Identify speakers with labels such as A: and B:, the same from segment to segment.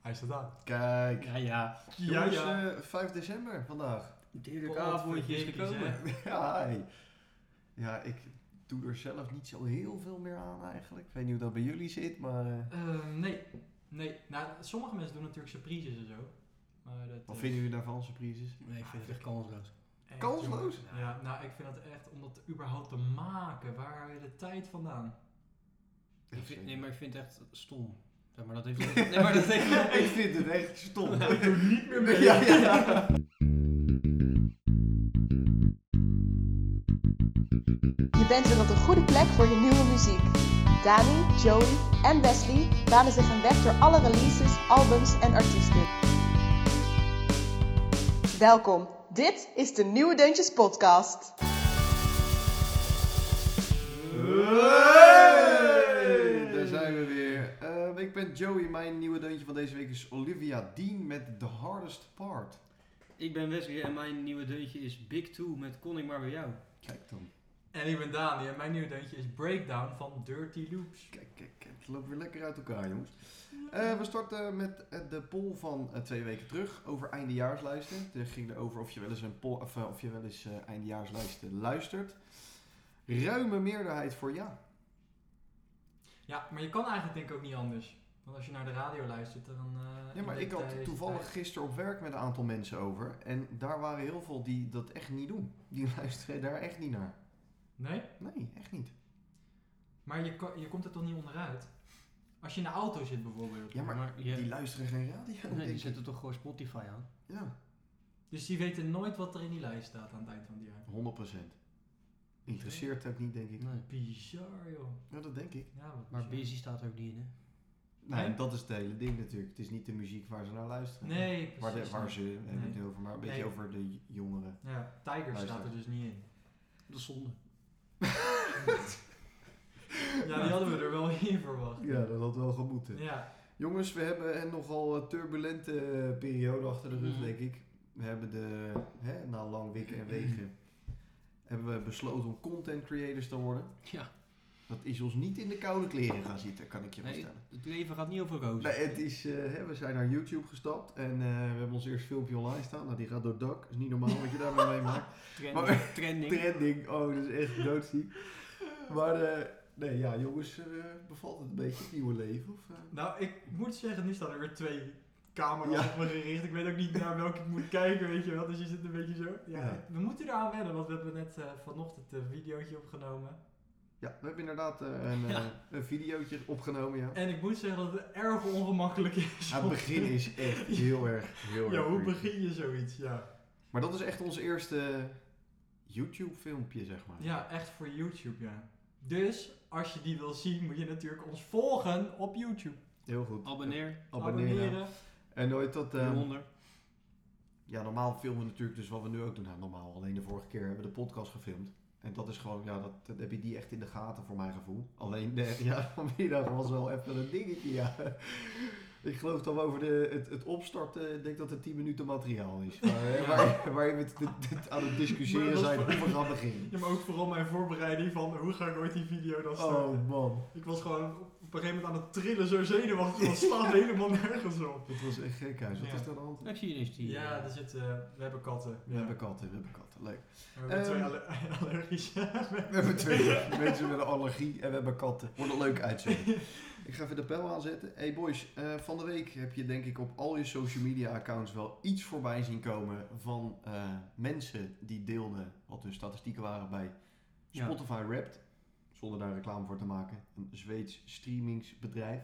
A: Hij staat aan.
B: Kijk.
C: Ja, ja.
A: Ja,
B: Jongens,
A: ja.
B: eh, 5 december vandaag.
C: Natuurlijk
A: Potverdikke,
C: avondje is gekomen.
A: zeg.
B: Ja, hey. ja, ik doe er zelf niet zo heel veel meer aan eigenlijk. Ik weet niet hoe dat bij jullie zit, maar... eh,
A: Eh, nee. Nee. Nou, sommige mensen doen natuurlijk surprises en zo. Maar dat
B: wat
A: is
B: vinden jullie daarvan, surprises?
C: Nee, ik vind het echt kansloos.
A: echt,
B: Kansloos?
A: jongen. Ja, nou, ik vind dat echt om dat überhaupt te maken. Waar haal je de tijd vandaan?
C: Ik vind, nee,
B: ik
C: maar ik vind het echt stom. Zeg maar dat heeft... Nee, maar dat heeft...
B: vind het echt stom.
A: Ik doe niet meer mee.
B: Ja, ja.
D: Je bent weer op de goede plek voor je nieuwe muziek. Dani, Joey en Wesley banen zich een weg door alle releases, albums en artiesten. Welkom, dit is de Nieuwe Deuntjes Podcast.
B: Hey, daar zijn we weer. Eh, ik ben Joey. Mijn nieuwe deuntje van deze week is Olivia Dean met The Hardest Part.
C: Ik ben Wesley en mijn nieuwe deuntje is Big Two met Kon ik maar bij jou.
B: Kijk dan.
A: En ik ben Dani en mijn nieuwe deuntje is Breakdown van Dirty Loops.
B: Kijk, kijk, kijk. Het loopt weer lekker uit elkaar, jongens. Eh, we starten met eh, de poll van eh, twee weken terug over eindejaarslijsten. Het ging erover of je wel eens, een poll, of, eh, of je wel eens eh, eindejaarslijsten luistert. Ruime meerderheid voor ja.
A: Ja, maar je kan eigenlijk denk ik ook niet anders. Want als je naar de radio luistert, dan... eh,
B: Ja, maar
A: in
B: ik
A: dit, eh,
B: had
A: deze tijd-
B: toevallig gisteren op werk met een aantal mensen over. En daar waren heel veel die dat echt niet doen. Die luisteren daar echt niet naar.
A: Nee?
B: Nee, echt niet.
A: Maar je, ko- je komt er toch niet onderuit? Als je in de auto zit bijvoorbeeld.
B: Ja, maar
C: je,
B: die luisteren geen radio.
C: nee, die
B: denk ik.
C: zetten toch gewoon Spotify aan?
B: Ja,
A: Dus die weten nooit wat er in die lijst staat aan het eind van het jaar.
B: 100%. Interesseert ook niet, denk ik.
C: Nee.
A: Bizar joh.
B: Ja, dat denk ik.
A: Ja, wat
C: Maar
A: bizar.
C: Busy staat er ook niet in, hè?
B: Nou,
A: Nee?
B: en dat is het hele ding natuurlijk. Het is niet de muziek waar ze naar luisteren.
A: Nee, precies.
B: Waar, de, waar ze, we hebben het
A: Nee.
B: niet over, maar een beetje
A: Nee.
B: over de j- jongeren.
A: Ja, Tiger staat
B: Luister.
A: er dus niet in.
C: Dat is zonde.
A: Ja, die hadden we er wel in verwacht.
B: Ja, dat had wel gemoeten.
A: Ja.
B: Jongens, we hebben een nogal eh, turbulente eh, periode achter de rug,
C: Mm.
B: denk ik. We hebben de, hè, na lang wikken en wegen, hebben we besloten om content creators te worden.
C: Ja.
B: Dat is ons niet in de koude kleren gaan zitten, kan ik je wel
C: Nee,
B: vertellen.
C: het leven gaat niet over rozen.
B: Nee, het is, eh, hè, we zijn naar YouTube gestapt en eh, we hebben ons eerst filmpje online staan. Nou, die gaat door het dak. is niet normaal wat je daarmee meemaakt.
C: Trending.
B: Maar-
C: trending.
B: Trending, oh, dat is echt doodziek. Maar, eh, nee, ja, jongens, eh, bevalt het een beetje het nieuwe leven? Of, eh?
A: Nou, ik moet zeggen, nu staan er weer twee camera's
B: Ja.
A: op me gericht. Ik weet ook niet naar welke ik moet kijken, weet je wel. Dus je zit een beetje zo. Ja,
B: Ja.
A: We moeten eraan wennen, want we hebben net eh, vanochtend een videootje opgenomen.
B: Ja, we hebben inderdaad eh, een, eh,
C: Ja.
B: een videootje opgenomen, ja.
A: En ik moet zeggen dat het erg ongemakkelijk is.
B: Ja, het begin is echt heel erg, heel erg
A: Ja, hoe
B: creepy.
A: begin je zoiets? Ja,
B: Maar dat is echt ons eerste YouTube-filmpje, zeg maar.
A: ja echt voor YouTube, ja. Dus, als je die wil zien, moet je natuurlijk ons volgen op YouTube.
B: Heel goed.
C: Abonneer.
B: Abonneren. En nooit dat... eh,
C: Hieronder.
B: ja, normaal filmen we natuurlijk dus wat we nu ook doen. Nou, normaal, alleen de vorige keer hebben we de podcast gefilmd. En dat is gewoon, ja, dat, dat heb je die echt in de gaten voor mijn gevoel. Alleen, de, ja, vanmiddag was wel even een dingetje, ja. Ik geloof dat we over de, het, het opstarten, ik denk dat het 10 minuten materiaal is. Waar,
A: Ja.
B: waar, waar je met het- het aan het
A: Maar
B: discussiëren
A: dat is
B: zijn
A: voor-
B: hoe we gaan beginnen.
A: Ja, maar ook vooral mijn voorbereiding van hoe ga ik ooit die video dan starten.
B: Oh man,
A: Ik was gewoon op een gegeven moment aan het trillen, zo zenuwachtig, want het slaat helemaal nergens op.
B: dat was echt gek huis. Wat
A: Ja.
B: is er aan de hand?
C: Ik zie ineens die.
A: Ja,
C: eh,
A: er zitten, we hebben katten.
B: We hebben katten, we hebben katten. Leuk.
A: We hebben
B: Ehm,
A: twee alle- allergische
B: We hebben twee mensen met een allergie en we hebben katten. Wordt een leuk uitzending. Ik ga even de pijl aanzetten. Hey boys, eh, van de week heb je denk ik op al je social media accounts wel iets voorbij zien komen van eh, mensen die deelden wat hun statistieken waren bij
C: Ja.
B: Spotify Wrapped. Zonder daar reclame voor te maken. Een Zweeds streamingsbedrijf.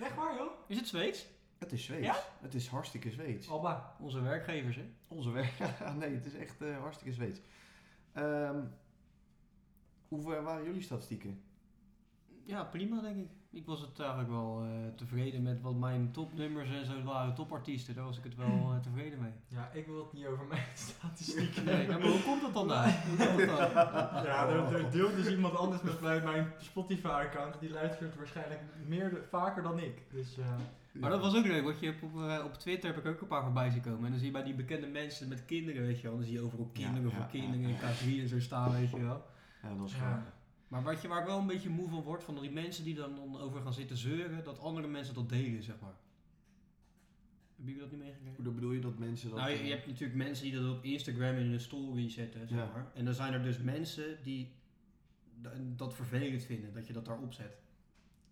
A: Echt waar, joh?
C: Is het Zweeds?
B: Het is Zweeds.
A: Ja?
B: Het is hartstikke Zweeds.
A: Alba.
C: Onze werkgevers, hè?
B: Onze werk. nee, het is echt eh, hartstikke Zweeds. Ehm, hoe eh, waren jullie statistieken?
C: Ja, prima denk ik. Ik was het eigenlijk wel eh, tevreden met wat mijn topnummers en zo waren. Topartiesten, daar was ik het wel eh, tevreden mee.
A: Ja, ik wil het niet over mijn statistieken
C: Nee, maar hoe komt dat
B: eh,
C: dan daar? Hoe komt dat dan?
A: Ja, er, er deelt dus iemand anders met mij mijn Spotify-account. Die luistert waarschijnlijk meer, de- vaker dan ik. Dus eh,
C: Maar dat was ook leuk, want je hebt op, eh, op Twitter heb ik ook een paar voorbij zien komen. En dan zie je bij die bekende mensen met kinderen, weet je wel. Dan zie je overal
B: Ja,
C: kinderen
B: ja,
C: voor
B: ja,
C: kinderen
B: ja.
C: en K3 en zo staan, weet je wel.
B: Ja, dat was
A: Ja.
B: grappig.
C: Maar wat je, waar ik wel een beetje moe van wordt, van die mensen die dan dan over gaan zitten zeuren, dat andere mensen dat delen, zeg maar. Hebben jullie dat niet meegekregen?
B: Hoe bedoel je dat mensen dat... eh,
C: Nou, je, je hebt natuurlijk mensen die dat op Instagram in hun story zetten, zeg
B: Ja.
C: maar. En dan zijn er dus mensen die d- dat vervelend vinden, dat je dat daarop zet.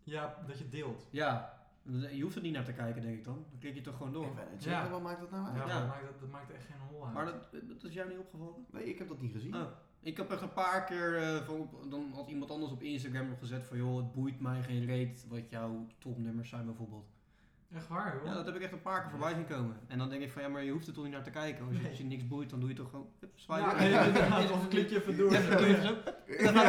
A: Ja, dat je deelt.
C: Ja, je hoeft er niet naar te kijken, denk ik dan. Dan klik je toch gewoon door.
B: Ik weet het zeggen,
A: Ja.
B: wat maakt dat nou uit?
A: Ja,
C: Ja.
A: Dat, maakt, dat, dat maakt echt geen hol uit.
C: Maar dat, dat is jou niet opgevallen?
B: Nee, ik heb dat niet gezien.
C: Oh. Ik heb echt een paar keer, eh, van op- dan had iemand anders op Instagram nog gezet van joh, het boeit mij geen reet wat jouw topnummers zijn bijvoorbeeld.
A: Echt waar, joh.
C: Ja, dat heb ik echt een paar keer voorbij zien komen. En dan denk ik van ja, maar je hoeft er toch niet naar te kijken. Als je,
A: Nee.
C: als je niks boeit, dan doe je toch gewoon hup,
A: Ja,
C: zwaaien.
A: ja, inderdaad, of een klikje even door.
C: Ja, dan doe je dus zo. Dan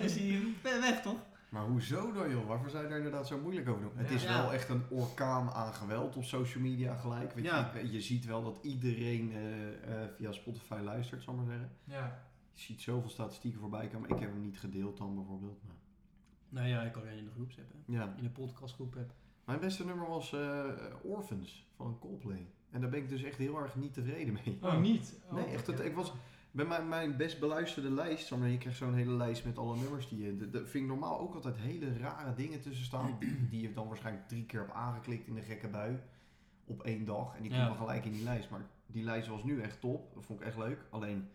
C: is hij we- weg toch?
B: Maar hoezo dan joh? Waarvoor zijn daar inderdaad zo moeilijk over doen? Het
A: Ja.
B: is
C: Ja.
B: wel echt een orkaan aan geweld op social media gelijk. Weet
C: Ja.
B: je, je ziet wel dat iedereen eh, eh, via Spotify luistert, zal ik maar zeggen.
A: Ja.
B: Je ziet zoveel statistieken voorbij komen. Ik heb hem niet gedeeld dan bijvoorbeeld. Maar...
C: Nou ja, ik kan alleen in de groepsapp hebben.
B: Ja.
C: In de podcastgroep heb.
B: Mijn beste nummer was eh, Orphans van Coldplay. En daar ben ik dus echt heel erg niet tevreden mee.
A: Oh, niet? Oh,
B: Nee, echt. Het,
A: ja.
B: ik was bij mijn, mijn best beluisterde lijst. Zo, maar je krijgt zo'n hele lijst met alle nummers die je. Daar vind ik normaal ook altijd hele rare dingen tussen staan. Die je dan waarschijnlijk drie keer hebt aangeklikt in de gekke bui. Op één dag. En die
C: Ja.
B: komen gelijk in die lijst. Maar die lijst was nu echt top. Dat vond ik echt leuk. Alleen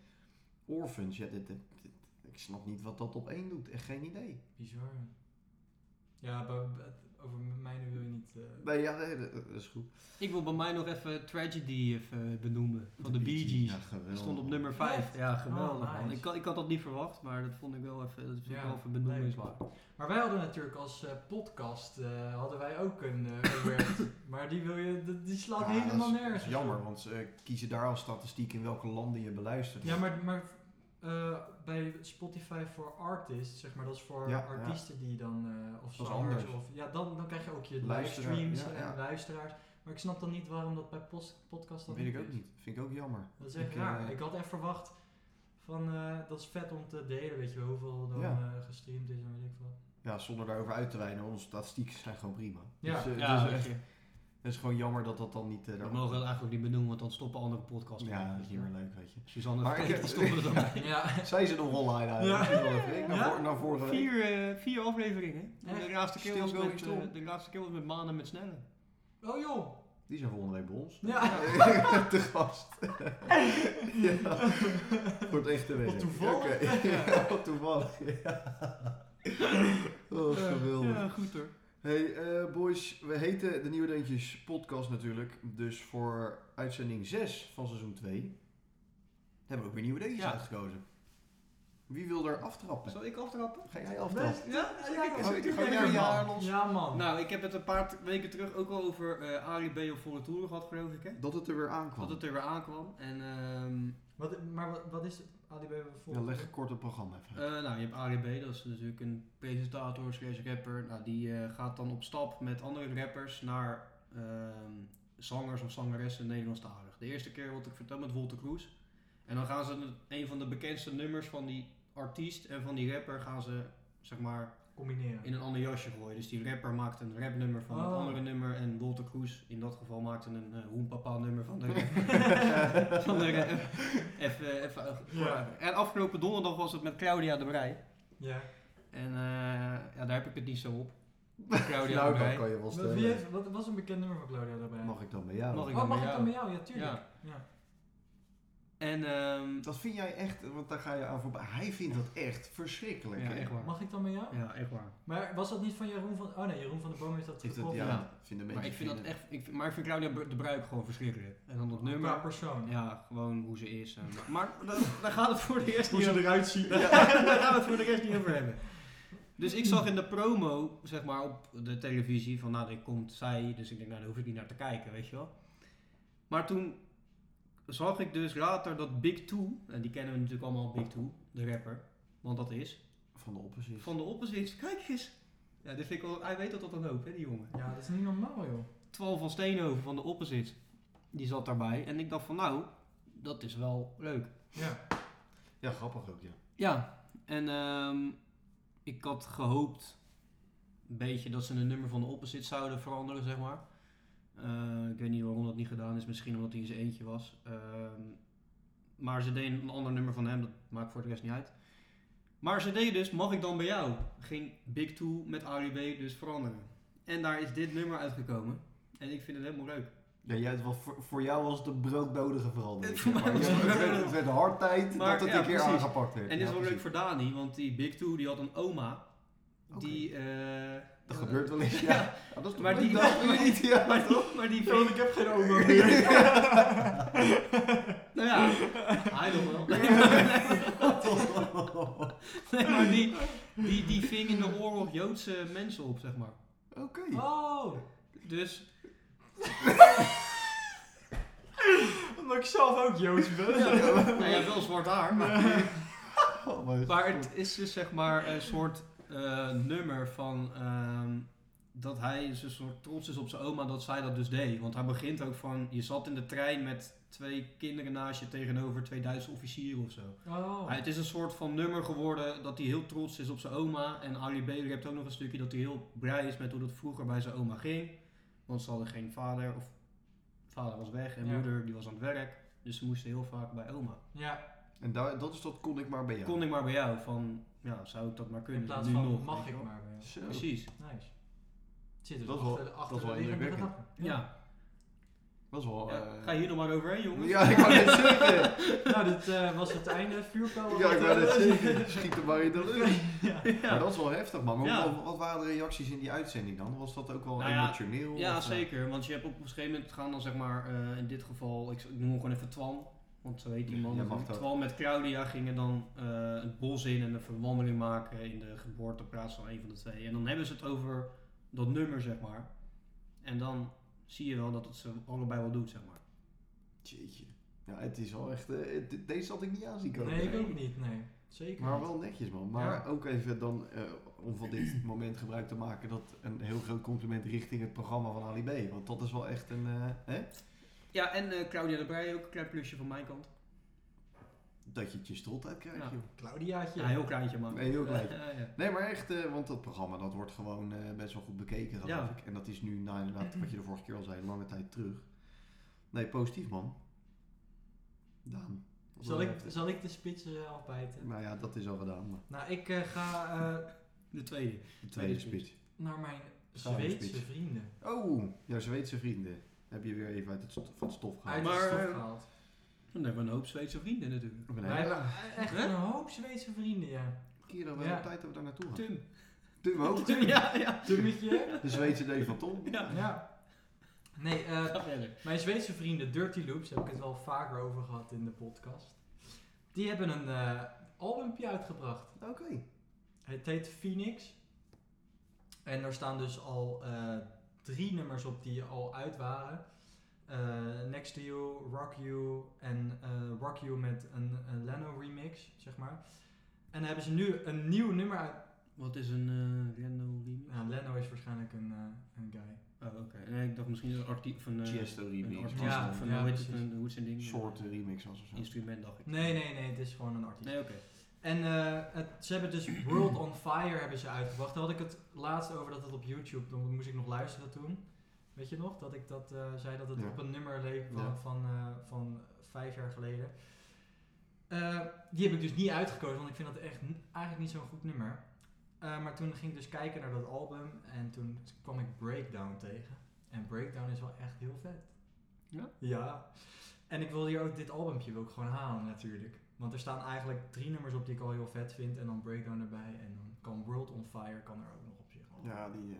B: Orphans, ja, dit, dit- dit- ik snap niet wat dat op één doet. Echt geen idee.
A: Bizar. Ja, bu- bu- over mijne wil je niet... eh,
B: Nee, ja, nee, dat dat is goed.
C: Ik wil bij mij nog even Tragedy even benoemen. Van de Bee Gees.
B: Ja, geweldig.
C: Dat stond op nummer 5. Ja, geweldig.
A: Oh,
C: man.
A: nice.
C: ik, had- ik had dat niet verwacht, maar dat vond ik wel even, dat vind ik
A: Ja,
C: wel even benoemingswaardig.
A: Maar wij hadden natuurlijk als eh, podcast, eh, hadden wij ook een eh Albert. maar die, wil je, die- die slaat
B: Ja,
A: helemaal
B: dat is-
A: nergens.
B: dat is jammer, want ze eh, kiezen daar als statistiek in welke landen je beluistert.
A: Ja, maar, maar eh, bij Spotify voor artists, zeg maar, dat is voor
B: Ja,
A: artiesten die dan, eh, of
B: Dat is
A: zangers,
B: anders.
A: of, ja, dan, dan krijg je ook je
B: Luisteraar,
A: livestreams
B: ja,
A: en
B: ja.
A: luisteraars. Maar ik snap dan niet waarom dat bij post, podcast dan
B: Dat weet ik ook
A: is.
B: niet. Vind ik ook jammer.
A: Dat is echt
B: Ik,
A: raar.
B: eh,
A: ik had echt verwacht van, eh, dat is vet om te delen, weet je wel, hoeveel dan
B: Ja.
A: eh, gestreamd is en weet ik wat.
B: Ja, zonder daarover uit te wijnen, onze statistieken zijn gewoon prima.
A: Ja.
B: dus, eh,
C: Ja,
B: het,
C: weet
B: is echt,
C: je.
B: het is gewoon jammer dat dat dan niet... eh,
C: We
B: daar-
C: mogen het eigenlijk ook niet benoemen, want dan stoppen andere podcasts.
B: Ja,
C: mee,
B: dat
C: weet
B: is
C: je.
B: niet meer leuk, weet je.
C: Suzanne
B: Maar
C: maar
B: ik-
C: die stoppen er dan mee.
A: Ja,
B: Zijn ze nog online eh,
A: Ja.
B: eigenlijk? Ja. Ik naar,
A: Ja.
B: Nou, voor- naar vorige week.
C: Vier, eh, vier afleveringen. En
A: Echt?
C: De laatste, keer was
B: Still
C: met,
B: going
C: eh,
B: strong.
C: de laatste keer was met Maan en met Snelle.
A: oh joh.
B: Die zijn volgende week bij ons.
A: Ja.
B: Te gast. ja. eh, Wordt echt te weten.
A: Wat toevallig.
B: Oké. Ja, wat toevallig. Ja. Oh, geweldig.
C: Ja, goed hoor.
B: Hey eh, boys, we heten de Nieuwe Deentjes podcast natuurlijk. Dus voor uitzending 6 van seizoen 2 hebben we ook weer Nieuwe Deentjes
C: Ja.
B: uitgekozen. Wie wil er aftrappen?
C: Zal ik aftrappen?
B: Ga jij aftrappen?
C: Ja,
B: ik-
C: zal
B: ik-
C: doen?
B: ga ik-
C: Ja,
B: ik-
C: ja.
B: ja, los.
A: Ja, man.
C: Nou, ik heb het een paar t- weken terug ook al over eh Arie B. op volle toeren gehad, geloof ik. Hè?
B: Dat het er weer aankwam.
C: Dat het er weer aankwam. En ehm,
A: Wat, maar wat, wat is het? ADB bijvoorbeeld?
B: Ja, leg kort het programma even. uit.
C: Eh, nou, je hebt ADB, dat is natuurlijk een presentator slash rapper. Nou, die eh, gaat dan op stap met andere rappers naar ehm, zangers of zangeressen Nederlandstalig. De eerste keer wat ik vertel met Wolter Kroes. En dan gaan ze een- een van de bekendste nummers van die artiest en van die rapper gaan ze zeg maar
A: Combineren.
C: in een ander jasje gooien. Dus die rapper maakt een rapnummer van het
A: Oh.
C: andere nummer en Wolter Kroes in dat geval maakte een eh hoenpapa nummer van de van de rapper. Even, even, eh,
A: Ja.
C: En afgelopen donderdag was het met Claudia de Brij.
A: Ja.
C: En eh, ja, daar heb ik het niet zo op. Claudia
B: nou,
C: erbij.
B: dan kan je wel
A: Wat, wie
B: stellen.
A: heeft, wat was een bekend nummer van Claudia daarbij?
B: Mag ik dan bij jou?
C: Mag ik
A: oh,
C: dan
A: mag
C: bij
A: ik
C: jou?
A: dan bij jou? Ja, tuurlijk.
C: Ja.
A: Ja.
C: En ehm,
B: Dat vind jij echt, want daar ga je aan voorbij. Hij vindt dat echt verschrikkelijk.
C: ja,
B: hè?
C: echt waar.
A: Mag ik dan bij jou?
C: Ja, echt waar.
A: Maar was dat niet van Jeroen van... Oh nee, Jeroen van de Boom heeft dat
B: Heeft het,
A: gekocht.
B: ja,
C: Ja.
B: vinden mensen
C: Maar ik vind dat
B: vinden-
C: echt, ik vind, maar ik vind Claudia Bru- de Bruik gewoon verschrikkelijk. En dan dat
A: Qua
C: nummer.
A: persoon.
C: Ja, gewoon hoe ze is. en- maar maar daar, daar gaat het voor de eerste
A: Hoe ze eruit ziet.
C: Daar gaan we het voor de rest niet over hebben. Dus ik zag in de promo, zeg maar, op de televisie van, nou, er komt zij, dus ik denk, nou, daar hoef ik niet naar te kijken, weet je wel. Maar toen zag ik dus later dat Big Two, en die kennen we natuurlijk allemaal, Big Two, de rapper, want dat is,
B: Van de oppositie.
C: van de opposites, kijk eens. Ja, dit vind ik wel, hij weet dat dat dan ook, hè, die jongen.
A: Ja, dat is niet normaal, joh.
C: 12 van Steenhoven van de opposites, die zat daarbij. En ik dacht van, nou, dat is wel leuk.
A: Ja.
B: Ja, grappig ook, ja.
C: Ja, en ehm, ik had gehoopt een beetje dat ze een nummer van de opposite zouden veranderen, zeg maar. Eh, ik weet niet waarom dat niet gedaan is, misschien omdat hij in zijn eentje was. Ehm, maar ze deden een ander nummer van hem, dat maakt voor de rest niet uit. Maar ze deden dus, mag ik dan bij jou? Ging Big Two met Arie B dus veranderen. En daar is dit nummer uitgekomen. En ik vind het helemaal leuk.
B: Nee, ja, het was voor, voor jou was het een broodnodige verandering.
C: Voor mij
B: zeg maar.
C: was
B: Ja,
C: het
B: het, werd,
C: broodnodig.
B: het werd hard tijd
C: Maar,
B: dat het
C: ja,
B: een keer
C: precies.
B: aangepakt werd.
C: En dit
B: Ja,
C: is wel leuk
B: precies.
C: voor Dani, want die Big Two die had een oma. Die, eh,
B: Dat
C: eh,
B: gebeurt wel eens, ja.
C: ja.
B: Ja, dat is toch
C: Maar
B: leuk
C: die-
B: dat we
C: maar-
B: niet, ja.
C: Maar toch, maar die
A: Want
C: ving...
A: ik heb geen oma meer.
C: Nou ja, I don't know. Nee, maar- Nee, maar die, die, die ving in de oorlog Joodse mensen op, zeg maar.
B: Oké.
A: Oh,
C: Dus
A: omdat ik zelf ook Joods ben.
C: Ja, nou ja, wel zwart haar. Maar,
B: Oh, maar-
C: maar het is dus zeg maar een soort eh, nummer van ehm, dat hij dus een soort trots is op zijn oma dat zij dat dus deed. Want hij begint ook van, je zat in de trein met twee kinderen naast je tegenover 2000 officieren of zo.
A: Oh.
C: Hij- het is een soort van nummer geworden dat hij heel trots is op zijn oma. En Ali B. hebt ook nog een stukje dat hij heel blij is met hoe dat vroeger bij zijn oma ging. Want ze hadden geen vader of vader was weg en
A: Ja.
C: moeder die was aan het werk. Dus ze moesten heel vaak bij oma.
A: Ja,
B: En daar, dat is dat kon ik maar bij jou.
C: kon ik maar bij jou van, ja, zou ik dat maar kunnen?
A: in plaats
C: nu
A: van
C: nog,
A: mag
C: weet je
A: ik
C: wel.
A: maar weer.
B: Zo.
C: Precies,
A: Nice. Het Zit dus
B: Dat is wel-
A: achter, de- achter
B: dat is wel
A: de liggende
B: indrukwekkend.
A: gedachten.
C: ja.
B: Dat is wel...
C: Ja,
B: eh,
C: Ga je hier nog maar overheen, jongens?
B: Ja, ik wou net zeggen.
A: Nou, dit eh, was het einde. Vuurpijl.
B: Ja, ik wou net zeggen. Schiet er maar in de lucht.
C: Ja.
B: Maar dat is wel heftig, man. Maar
C: Ja.
B: hoe- wat waren de reacties in die uitzending dan? Was dat ook wel
C: Nou ja,
B: emotioneel?
C: Ja,
B: of, eh,
C: zeker. Want je hebt op een gegeven moment gaan dan zeg maar, eh, in dit geval, ik, ik noem hem gewoon even Twan. Want zo heet die man.
B: Ja, mag dat.
C: Twan met Claudia gingen dan eh, het bos in en een verwandeling maken in de geboorteplaats van een van de twee. En dan hebben ze het over dat nummer, zeg maar. En dan zie je wel dat het ze allebei wel doet, zeg maar.
B: Jeetje. Ja, het is wel echt... eh, het- deze had ik niet aanzien komen.
A: Nee, ik ook niet. Nee. Zeker
B: Maar
A: niet.
B: wel netjes, man. Maar
A: Ja.
B: ook even dan, eh, om van dit moment gebruik te maken, dat een heel groot compliment richting het programma van Ali B. Want dat is wel echt een... eh, hè?
C: Ja, en eh, Claudia de Breij ook, een klein plusje van mijn kant.
B: Dat je het je strot uit krijgt,
C: Ja.
B: joh.
A: Claudiaatje.
C: Ja, heel kleintje, maar.
B: Nee, heel klein.
C: Ja, ja.
B: Nee, maar echt, eh, want dat programma dat wordt gewoon eh, best wel goed bekeken, geloof
C: Ja.
B: ik. En dat is nu, nou inderdaad, wat je de vorige keer al zei, lange tijd terug. Nee, positief, man. Daan. Wat
A: zal,
B: wil
A: ik,
B: jij vertellen?
A: zal ik de spitsen afbijten?
B: Nou ja, dat is al gedaan. Maar
A: Nou, ik eh, ga eh,
C: De tweede.
B: de tweede
C: speech.
B: speech.
A: naar mijn
B: Gaan we
A: Zweedse
B: spitsen.
A: vrienden.
B: Oh, jouw Zweedse vrienden. Heb je weer even uit het stof, van het stof gehaald.
A: Uit
C: Maar,
A: de stof
C: eh,
A: gehaald.
C: Dan hebben we een hoop Zweedse vrienden natuurlijk.
B: Ik ben
A: Wij
B: heel
A: hebben eh, echt
C: Huh?
A: een hoop Zweedse vrienden, ja.
B: Kira, we
A: Ja.
B: tijd hebben we daar naartoe gaan.
C: Tim.
B: Oh, Tim ook.
C: Tim, ja, ja.
A: Tummetje.
B: De Zweedse D van Tom.
C: Ja.
A: Ja. Nee, eh,
C: Ga verder.
A: mijn Zweedse vrienden Dirty Loops, daar heb ik het wel vaker over gehad in de podcast. Die hebben een eh, albumpje uitgebracht.
B: Oké.
A: Het heet Phoenix. En daar staan dus al eh, drie nummers op die al uit waren. Eh, Next to You, Rock You en eh, Rock You met een, een Leno remix, zeg maar. En dan hebben ze nu een nieuw nummer uit.
C: Wat is een eh random remix?
A: Nou, Leno is waarschijnlijk een, eh, een guy.
C: Oh, oké. Nee, ik dacht misschien een artiest van... eh,
B: Chesto
C: Een
B: remix.
C: artiest
A: Ja,
C: van,
A: ja,
C: hoe heet het,
A: precies.
C: een- hoe is zijn ding?
B: Soort remix was of zo.
C: Instrument, dacht ik.
A: Nee, nee, nee, het is gewoon een artiest.
C: Nee, oké.
A: En eh, het, ze hebben dus World on Fire hebben ze uitgebracht. Daar had ik het laatst over dat het op YouTube, dan moest ik nog luisteren toen. Weet je nog, dat ik dat eh, zei dat het
B: Ja.
A: op een nummer leek van,
B: Ja.
A: van, eh, van vijf jaar geleden. Eh, die heb ik dus niet uitgekozen, want ik vind dat echt n- eigenlijk niet zo'n goed nummer. Eh, maar toen ging ik dus kijken naar dat album en toen kwam ik Breakdown tegen. En Breakdown is wel echt heel vet.
C: Ja?
A: Ja. En ik wil hier ook dit albumpje wil ik gewoon halen natuurlijk. Want er staan eigenlijk drie nummers op die ik al heel vet vind. En dan Breakdown erbij. En dan kan World on Fire kan er ook nog op zich.
B: Ja, die eh,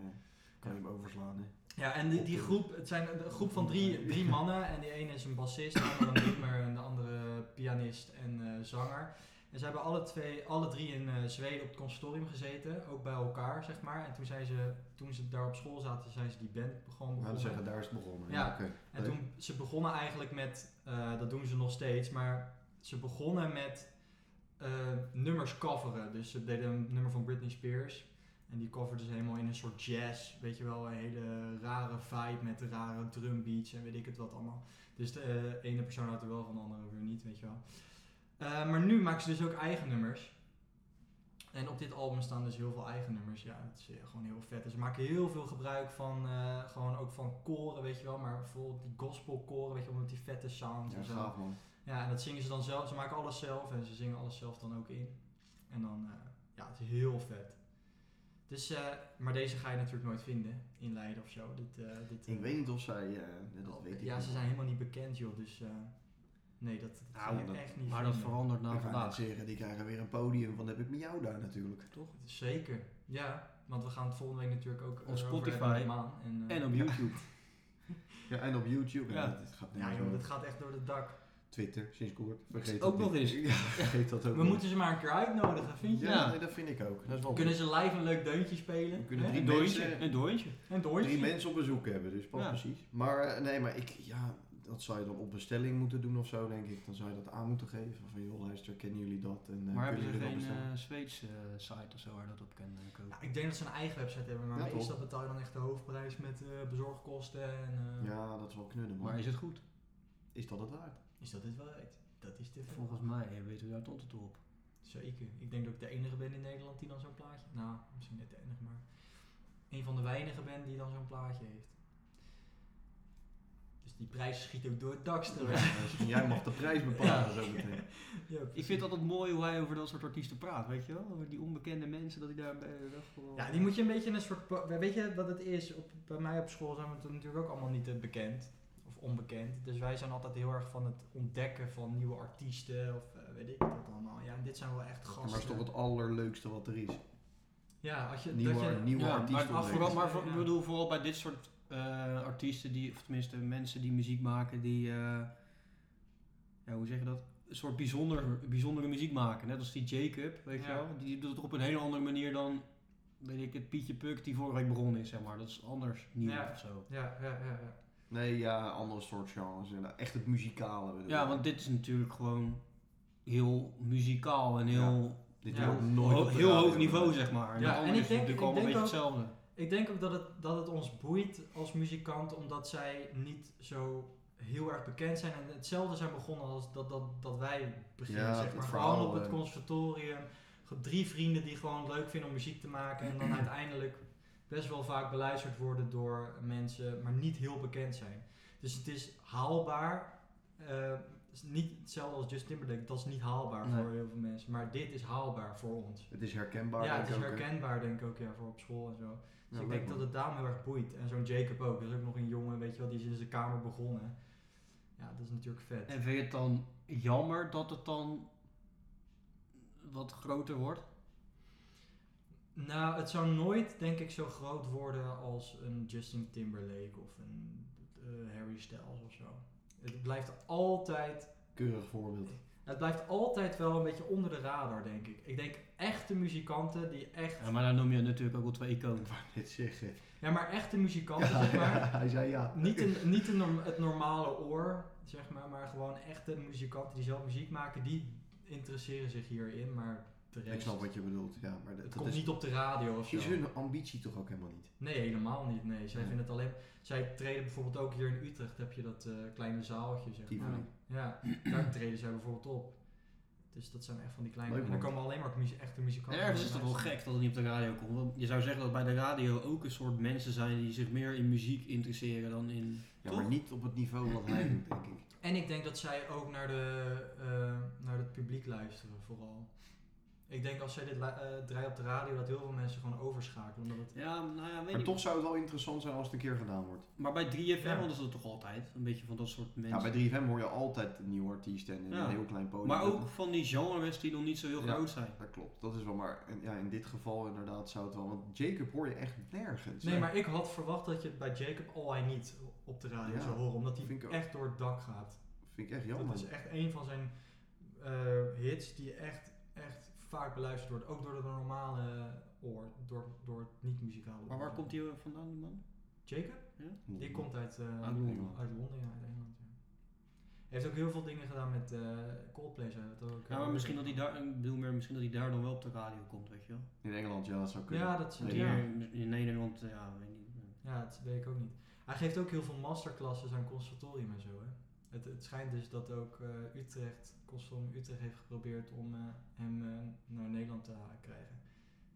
B: kan je hem overslaan. Hè.
A: Ja, en die, die groep, het zijn een groep van drie, drie mannen. En die ene is een bassist, de andere een drummer en de andere pianist en eh, zanger. En ze hebben alle, twee, alle drie in eh, Zweden op het consortium gezeten, ook bij elkaar, zeg maar. En toen, zijn ze, toen ze daar op school zaten, zijn ze die band gewoon
B: We gaan
A: begonnen.
B: zeggen, daar is het begonnen.
A: Ja.
B: oké.
A: En toen ze begonnen eigenlijk met, eh, dat doen ze nog steeds, maar ze begonnen met eh, nummers coveren. Dus ze deden een nummer van Britney Spears. En die coverden ze helemaal in een soort jazz, weet je wel, een hele rare vibe met rare drumbeats en weet ik het wat allemaal. Dus de eh, ene persoon houdt er wel van, de andere weer niet, weet je wel. Eh, maar nu maken ze dus ook eigen nummers. En op dit album staan dus heel veel eigen nummers. Ja, het is eh, gewoon heel vet. En ze maken heel veel gebruik van, eh, gewoon ook van koren, weet je wel. Maar bijvoorbeeld die gospelkoren, weet je wel, met die vette sound
B: Ja,
A: en zo.
B: gaaf man.
A: Ja, en dat zingen ze dan zelf. Ze maken alles zelf en ze zingen alles zelf dan ook in. En dan, eh, ja, het is heel vet. Dus, eh, maar deze ga je natuurlijk nooit vinden in Leiden of zo. Dit, eh, dit, eh,
B: Ik weet niet of zij, eh, dat weet ik
A: Ja, ze zijn helemaal niet bekend, joh. Dus eh, nee, dat, dat
B: Nou,
A: kan je
B: dat-
A: echt niet
C: Maar dat
A: vinden.
C: verandert na
B: Nou,
C: vandaag.
B: zeggen, die krijgen weer een podium. Wat heb ik met jou daar natuurlijk?
C: Toch?
A: Zeker, ja. Want we gaan het volgende week natuurlijk ook
C: Op
A: erover hebben,
C: Spotify.
A: neem aan. En, eh,
C: En op
B: Ja.
C: YouTube.
B: Ja, en op YouTube.
C: Ja.
B: Ja, het gaat
A: ja,
B: nergens
A: joh,
B: meer.
A: dat gaat echt door het dak.
B: Twitter, sinds kort. Vergeet
C: Ook
B: dat
C: nog
B: niet.
C: eens.
B: Ja, vergeet dat ook
A: We
B: nog.
A: moeten ze maar een keer uitnodigen, vind je?
B: Ja,
C: Ja.
B: nee, dat vind ik ook. Dat is wel
A: Kunnen ze live een leuk deuntje spelen?
B: We kunnen
A: hè?
B: drie
C: Een dooitje. Een dooitje.
A: En doortje.
B: drie mensen op bezoek hebben, dus pas
C: Ja.
B: precies. Maar eh, nee, maar ik, ja, dat zou je dan op bestelling moeten doen of zo, denk ik. Dan zou je dat aan moeten geven. Van joh, luister, kennen jullie dat? En, eh,
C: Maar hebben
B: kunnen
C: ze
B: jullie dat
C: geen
B: bestellen?
C: eh, Zweedse eh, site of zo waar dat op kan eh, kopen?
A: Ja, Nou, ik denk dat ze een eigen website hebben, maar
B: Ja,
A: meestal
B: toch?
A: betaal je dan echt de hoofdprijs met eh, bezorgkosten en... eh,
B: Ja, dat is wel knudden, man.
C: Maar is het goed?
B: Is dat het waard?
A: Is dat het wel uit? Dat is de vraag.
C: Volgens mij eh, weten we daar het antwoord op.
A: Zeker. Ik denk dat ik de enige ben in Nederland die dan zo'n plaatje... Nou, misschien net de enige, maar... Een van de weinigen ben die dan zo'n plaatje heeft. Dus die prijs schiet ook door het dak straks.
B: Dus jij mag de prijs bepalen
A: Ja.
B: zo meteen.
A: Ja,
C: Ik
A: precies.
C: vind het altijd mooi hoe hij over dat soort artiesten praat, weet je wel? Over die onbekende mensen, dat hij daar eh, wel gewoon...
A: Ja, die moet je een beetje in een soort... po- Weet je wat het is? Op, bij mij op school zijn we toen natuurlijk ook allemaal niet eh, bekend. Of onbekend. Dus wij zijn altijd heel erg van het ontdekken van nieuwe artiesten. Of eh, weet ik wat allemaal. Ja, en dit zijn wel echt
B: Maar
A: gasten.
B: dat is toch het allerleukste wat er is.
A: Ja, als je...
B: Nieuwe,
A: dat je
B: nieuwe
C: Ja,
B: artiesten.
C: maar,
B: ontdekken.
C: vooral, maar voor-
A: Ja.
C: ik bedoel vooral bij dit soort eh, artiesten, die, of tenminste mensen die muziek maken, die, eh, ja, hoe zeg je dat, een soort bijzonder, bijzondere muziek maken. Net als die Jacob, weet je
A: Ja.
C: wel. Die doet het op een hele andere manier dan, weet ik het, Pietje Puk die vorige week begonnen is, zeg maar. Dat is anders nieuw
A: Ja.
C: of zo.
A: Ja, ja, ja, ja.
B: Nee, ja, ander soort genres. inderdaad. Echt het muzikale bedoel
C: Ja,
B: ik.
C: want dit is natuurlijk gewoon heel muzikaal en heel,
B: dit
A: ja,
B: wordt
C: ho-
B: nooit op de
C: heel
B: radio.
C: hoog niveau, zeg maar. En
A: Ja,
C: dat
A: en
C: andere
A: ik
C: is
A: denk-
C: natuurlijk
A: ik
C: allemaal een
A: denk
C: beetje hetzelfde.
A: Ik denk ook dat het, dat het ons boeit als muzikant, omdat zij niet zo heel erg bekend zijn en hetzelfde zijn begonnen als dat, dat, dat wij beginnen.
B: Ja,
A: zeg
B: het
A: maar.
B: verhaal,
A: Gewoon op het
B: eh.
A: conservatorium. Ge- Drie vrienden die gewoon leuk vinden om muziek te maken en dan uiteindelijk best wel vaak beluisterd worden door mensen, maar niet heel bekend zijn. Dus het is haalbaar. eh, het is niet hetzelfde als Justin Timberlake, dat is niet haalbaar
C: Nee.
A: voor heel veel mensen. Maar dit is haalbaar voor ons.
B: Het is herkenbaar.
A: Ja,
B: denk
A: het is
B: ik ook, hè.
A: herkenbaar denk ik ook ja, voor op school en zo. Dus
B: Ja,
A: ik
B: leuk,
A: denk
B: man.
A: dat het daarom heel erg boeit. En zo'n Jacob ook. Dat is ook nog een jongen, weet je wel, die is in zijn kamer begonnen. Ja, dat is natuurlijk vet.
C: En vind je het dan jammer dat het dan wat groter wordt?
A: Nou, het zou nooit, denk ik, zo groot worden als een Justin Timberlake of een eh, Harry Styles of zo. Het blijft altijd...
B: Keurig voorbeeld.
A: Het blijft altijd wel een beetje onder de radar, denk ik. Ik denk echte muzikanten die echt...
C: Ja, maar dan noem je natuurlijk ook wel twee iconen.
B: Dit zeggen.
A: Ja, maar echte muzikanten,
B: Ja,
A: zeg maar.
B: ja, hij zei ja.
A: Niet, een, niet een norm- het normale oor, zeg maar, maar gewoon echte muzikanten die zelf muziek maken, die interesseren zich hierin, maar de rest...
B: Ik snap wat je bedoelt. Ja, maar dat,
A: Het
B: dat
A: komt
B: is,
A: niet op de radio of zo.
B: is hun ambitie toch ook helemaal niet.
A: Nee, helemaal niet. Nee, zij
B: Nee.
A: vinden het alleen... Zij treden bijvoorbeeld ook hier in Utrecht, heb je dat eh, kleine zaaltje, zeg maar.
B: Tivoli.
A: Ja, daar treden zij bijvoorbeeld op. Dus dat zijn echt van die kleine...
B: Leuk,
A: en dan
B: man.
A: komen alleen maar mu- echte muzikanten.
C: Ergens is dat wel
A: luisteren.
C: gek dat het niet op de radio komt. Want je zou zeggen dat bij de radio ook een soort mensen zijn die zich meer in muziek interesseren dan in...
B: Ja,
C: Toch?
B: maar niet op het niveau wat hij doet, denk ik.
A: En ik denk dat zij ook naar, de, eh, naar het publiek luisteren, vooral. Ik denk als zij dit la- eh, draaien op de radio, dat heel veel mensen gewoon overschakelen. Omdat het,
C: Ja, nou ja, weet
B: Maar
C: ik
B: toch zou het wel interessant zijn als het een keer gedaan wordt.
C: Maar bij 3FM
A: Ja.
C: hadden ze dat toch altijd? Een beetje van dat soort mensen.
B: Ja, bij 3FM hoor je altijd een nieuw artiest en een
C: Ja.
B: heel klein podium.
C: maar ook van die genres die nog niet zo heel
B: Ja.
C: groot zijn.
B: Dat klopt, dat is wel maar. En, ja, in dit geval inderdaad zou het wel. Want Jacob hoor je echt nergens.
A: nee, maar ik had verwacht dat je het bij Jacob al hij niet op de radio
B: Ja,
A: zou horen. Omdat
B: vind
A: hij
B: ik ook.
A: echt door het dak gaat.
B: Vind ik echt jammer.
A: Dat is echt een van zijn eh, hits die echt, echt vaak beluisterd wordt. Ook door de normale oor, door, door het niet-muzikale
C: Maar
A: oor.
C: waar komt die vandaan, die man?
A: Jacob? Die komt uit, eh,
C: Uit Londen.
A: uit Londen, ja, uit Engeland. Ja. Hij heeft ook heel veel dingen gedaan met eh Coldplay, zei dat ook. eh,
C: Ja, maar misschien dat hij daar, ik bedoel meer, misschien dat hij daar dan wel op de radio komt, weet je wel.
B: In Engeland, ja, dat zou kunnen.
A: Ja, dat is
B: Nee,
C: Hier
A: ja.
C: in- in Nederland, ja, weet niet.
A: Ja, dat weet ik ook niet. Hij geeft ook heel veel masterclasses aan conservatorium en zo, hè. Het, het schijnt dus dat ook eh, Utrecht, Conservatorium Utrecht heeft geprobeerd om eh, hem eh, naar Nederland te ha- krijgen.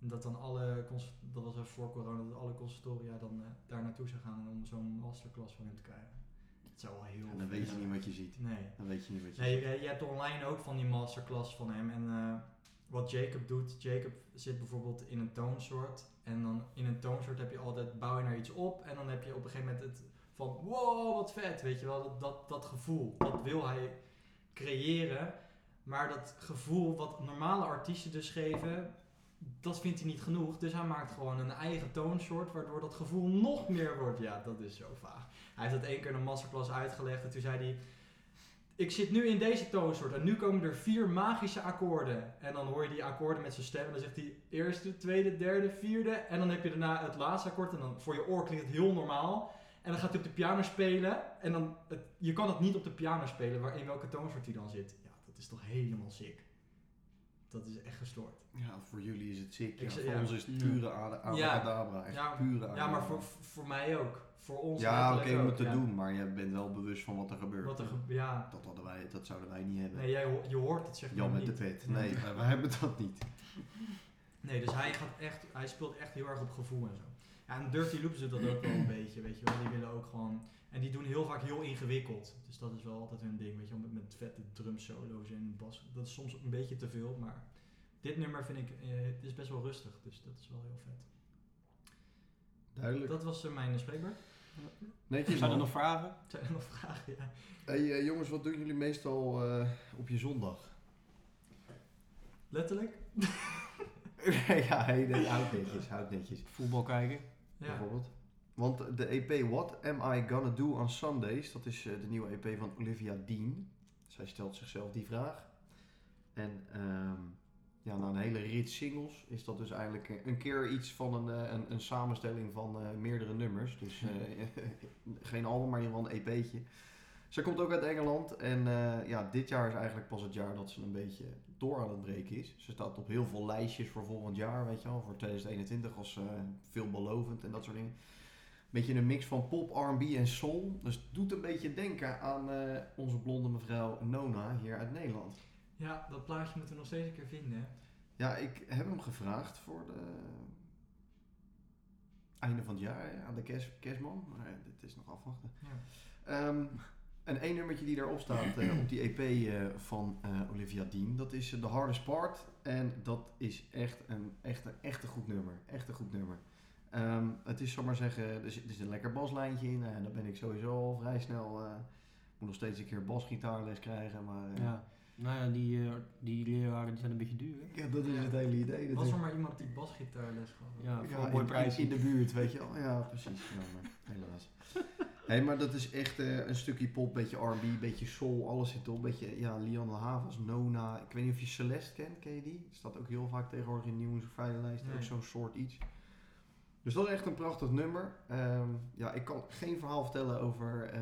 A: En dat dan alle, cons- dat was even voor corona, dat alle conservatoria dan eh, daar naartoe zou gaan om zo'n masterclass van hem te krijgen. Dat zou wel heel
B: En dan weet je niet wat je ziet.
A: Nee.
B: Dan weet je niet wat je
A: Nee, eh-
B: ziet.
A: je, je hebt online ook van die masterclass van hem. En eh, wat Jacob doet, Jacob zit bijvoorbeeld in een toonsoort. En dan in een toonsoort heb je altijd, bouw je naar iets op. En dan heb je op een gegeven moment het van wow, wat vet, weet je wel, dat, dat, dat gevoel, dat wil hij creëren. Maar dat gevoel wat normale artiesten dus geven, dat vindt hij niet genoeg. Dus hij maakt gewoon een eigen toonsoort, waardoor dat gevoel nog meer wordt. Ja, dat is zo vaag. Hij heeft dat één keer in een masterclass uitgelegd en toen zei hij... Ik zit nu in deze toonsoort en nu komen er vier magische akkoorden. En dan hoor je die akkoorden met zijn stem en dan zegt hij eerste, tweede, derde, vierde. En dan heb je daarna het laatste akkoord en dan voor je oor klinkt het heel normaal. En dan gaat hij op de piano spelen en dan... Het, je kan het niet op de piano spelen waar, in welke toonsoort hij dan zit. Ja, dat is toch helemaal sick. Dat is echt gestoord.
B: Ja, voor jullie is het sick.
A: Ik
B: Ja,
A: zeg-
B: voor
A: ja.
B: ons is het pure ada- abracadabra. Echt
A: Ja,
B: pure
A: Ja, maar
B: abracadabra.
A: voor, voor mij ook. Voor ons
B: Ja, oké,
A: letterlijk
B: om
A: ook,
B: het
A: ja.
B: te doen. Maar je bent wel bewust van wat er gebeurt.
A: Wat er ge- ja.
B: Dat, hadden wij, dat zouden wij niet hebben.
A: Nee, jij, ho- je hoort het zeg maar
B: Jan met
A: niet.
B: de pet.
A: Nee.
B: Nee, wij, wij hebben dat niet.
A: Nee, dus hij, gaat echt, hij speelt echt heel erg op gevoel en zo. Ja, en Dirty Loops doet dat ook wel een beetje, weet je wel. Die willen ook gewoon... En die doen heel vaak heel ingewikkeld. Dus dat is wel altijd hun ding, weet je wel. Met, met vette drumsolo's en bas. Dat is soms een beetje te veel, maar... Dit nummer vind ik... eh, het is best wel rustig, dus dat is wel heel vet.
B: Duidelijk.
A: Dat was eh, mijn spreekbeurt.
B: Netjes,
C: Zijn er
B: man.
C: nog vragen?
A: Zijn er nog vragen? Ja.
B: Hey, eh, jongens, wat doen jullie meestal eh, op je zondag?
A: Letterlijk?
B: ja, hey, nee, houd netjes, houd netjes.
C: Voetbal kijken.
A: Ja.
B: bijvoorbeeld. Want de EP What Am I Gonna Do on Sundays, dat is eh, de nieuwe EP van Olivia Dean. Zij stelt zichzelf die vraag. En ehm, ja, na een hele rits singles is dat dus eigenlijk eh, een keer iets van een, eh, een, een samenstelling van eh, meerdere nummers. Dus eh, geen album, maar in ieder geval een E EP'tje. Zij komt ook uit Engeland en eh, ja, dit jaar is eigenlijk pas het jaar dat ze een beetje door aan het breken is. Ze staat op heel veel lijstjes voor volgend jaar, weet je wel, voor 2021 als eh, veelbelovend en dat soort dingen. Beetje een mix van pop, R&B en soul. Dus het doet een beetje denken aan eh, onze blonde mevrouw Nona hier uit Nederland.
A: ja, dat plaatje moeten we nog steeds een keer vinden, hè.
B: Ja, ik heb hem gevraagd voor de einde van het jaar hè, aan de kerst, kerstman. Maar eh, dit is nog afwachten.
A: Ja.
B: Ehm, en één nummertje die daarop staat eh, op die EP eh, van eh, Olivia Dean. Dat is eh, The Hardest Part. En dat is echt een, echt, een, echt een goed nummer. Echt een goed nummer. Ehm, het is, zal ik maar zeggen, er zit, er zit een lekker baslijntje in. Nou, En daar ben ik sowieso al vrij snel... eh, moet nog steeds een keer basgitaarles krijgen. Maar eh,
C: Ja. Nou ja, die, eh, die leraren die zijn een beetje duur. hè?
B: ja, dat is het hele idee. Dat
A: Was
B: is-
A: er maar iemand die basgitaarles gaf?
C: Ja, voor
B: Ja,
C: een mooi
B: in-
C: prijs.
B: In, in de buurt, weet je wel. Ja, precies. Jammer. Helaas. Hé, maar dat is echt eh, een stukje pop, beetje R&B, beetje soul, alles zit op. Beetje, ja, Lian Havas, Nona. Ik weet niet of je Celeste kent, ken je die? Staat ook heel vaak tegenwoordig in nieuws- en vrijlijst.
A: Nee.
B: Ook zo'n soort iets. Dus dat is echt een prachtig nummer. Ehm, ja, ik kan geen verhaal vertellen over eh,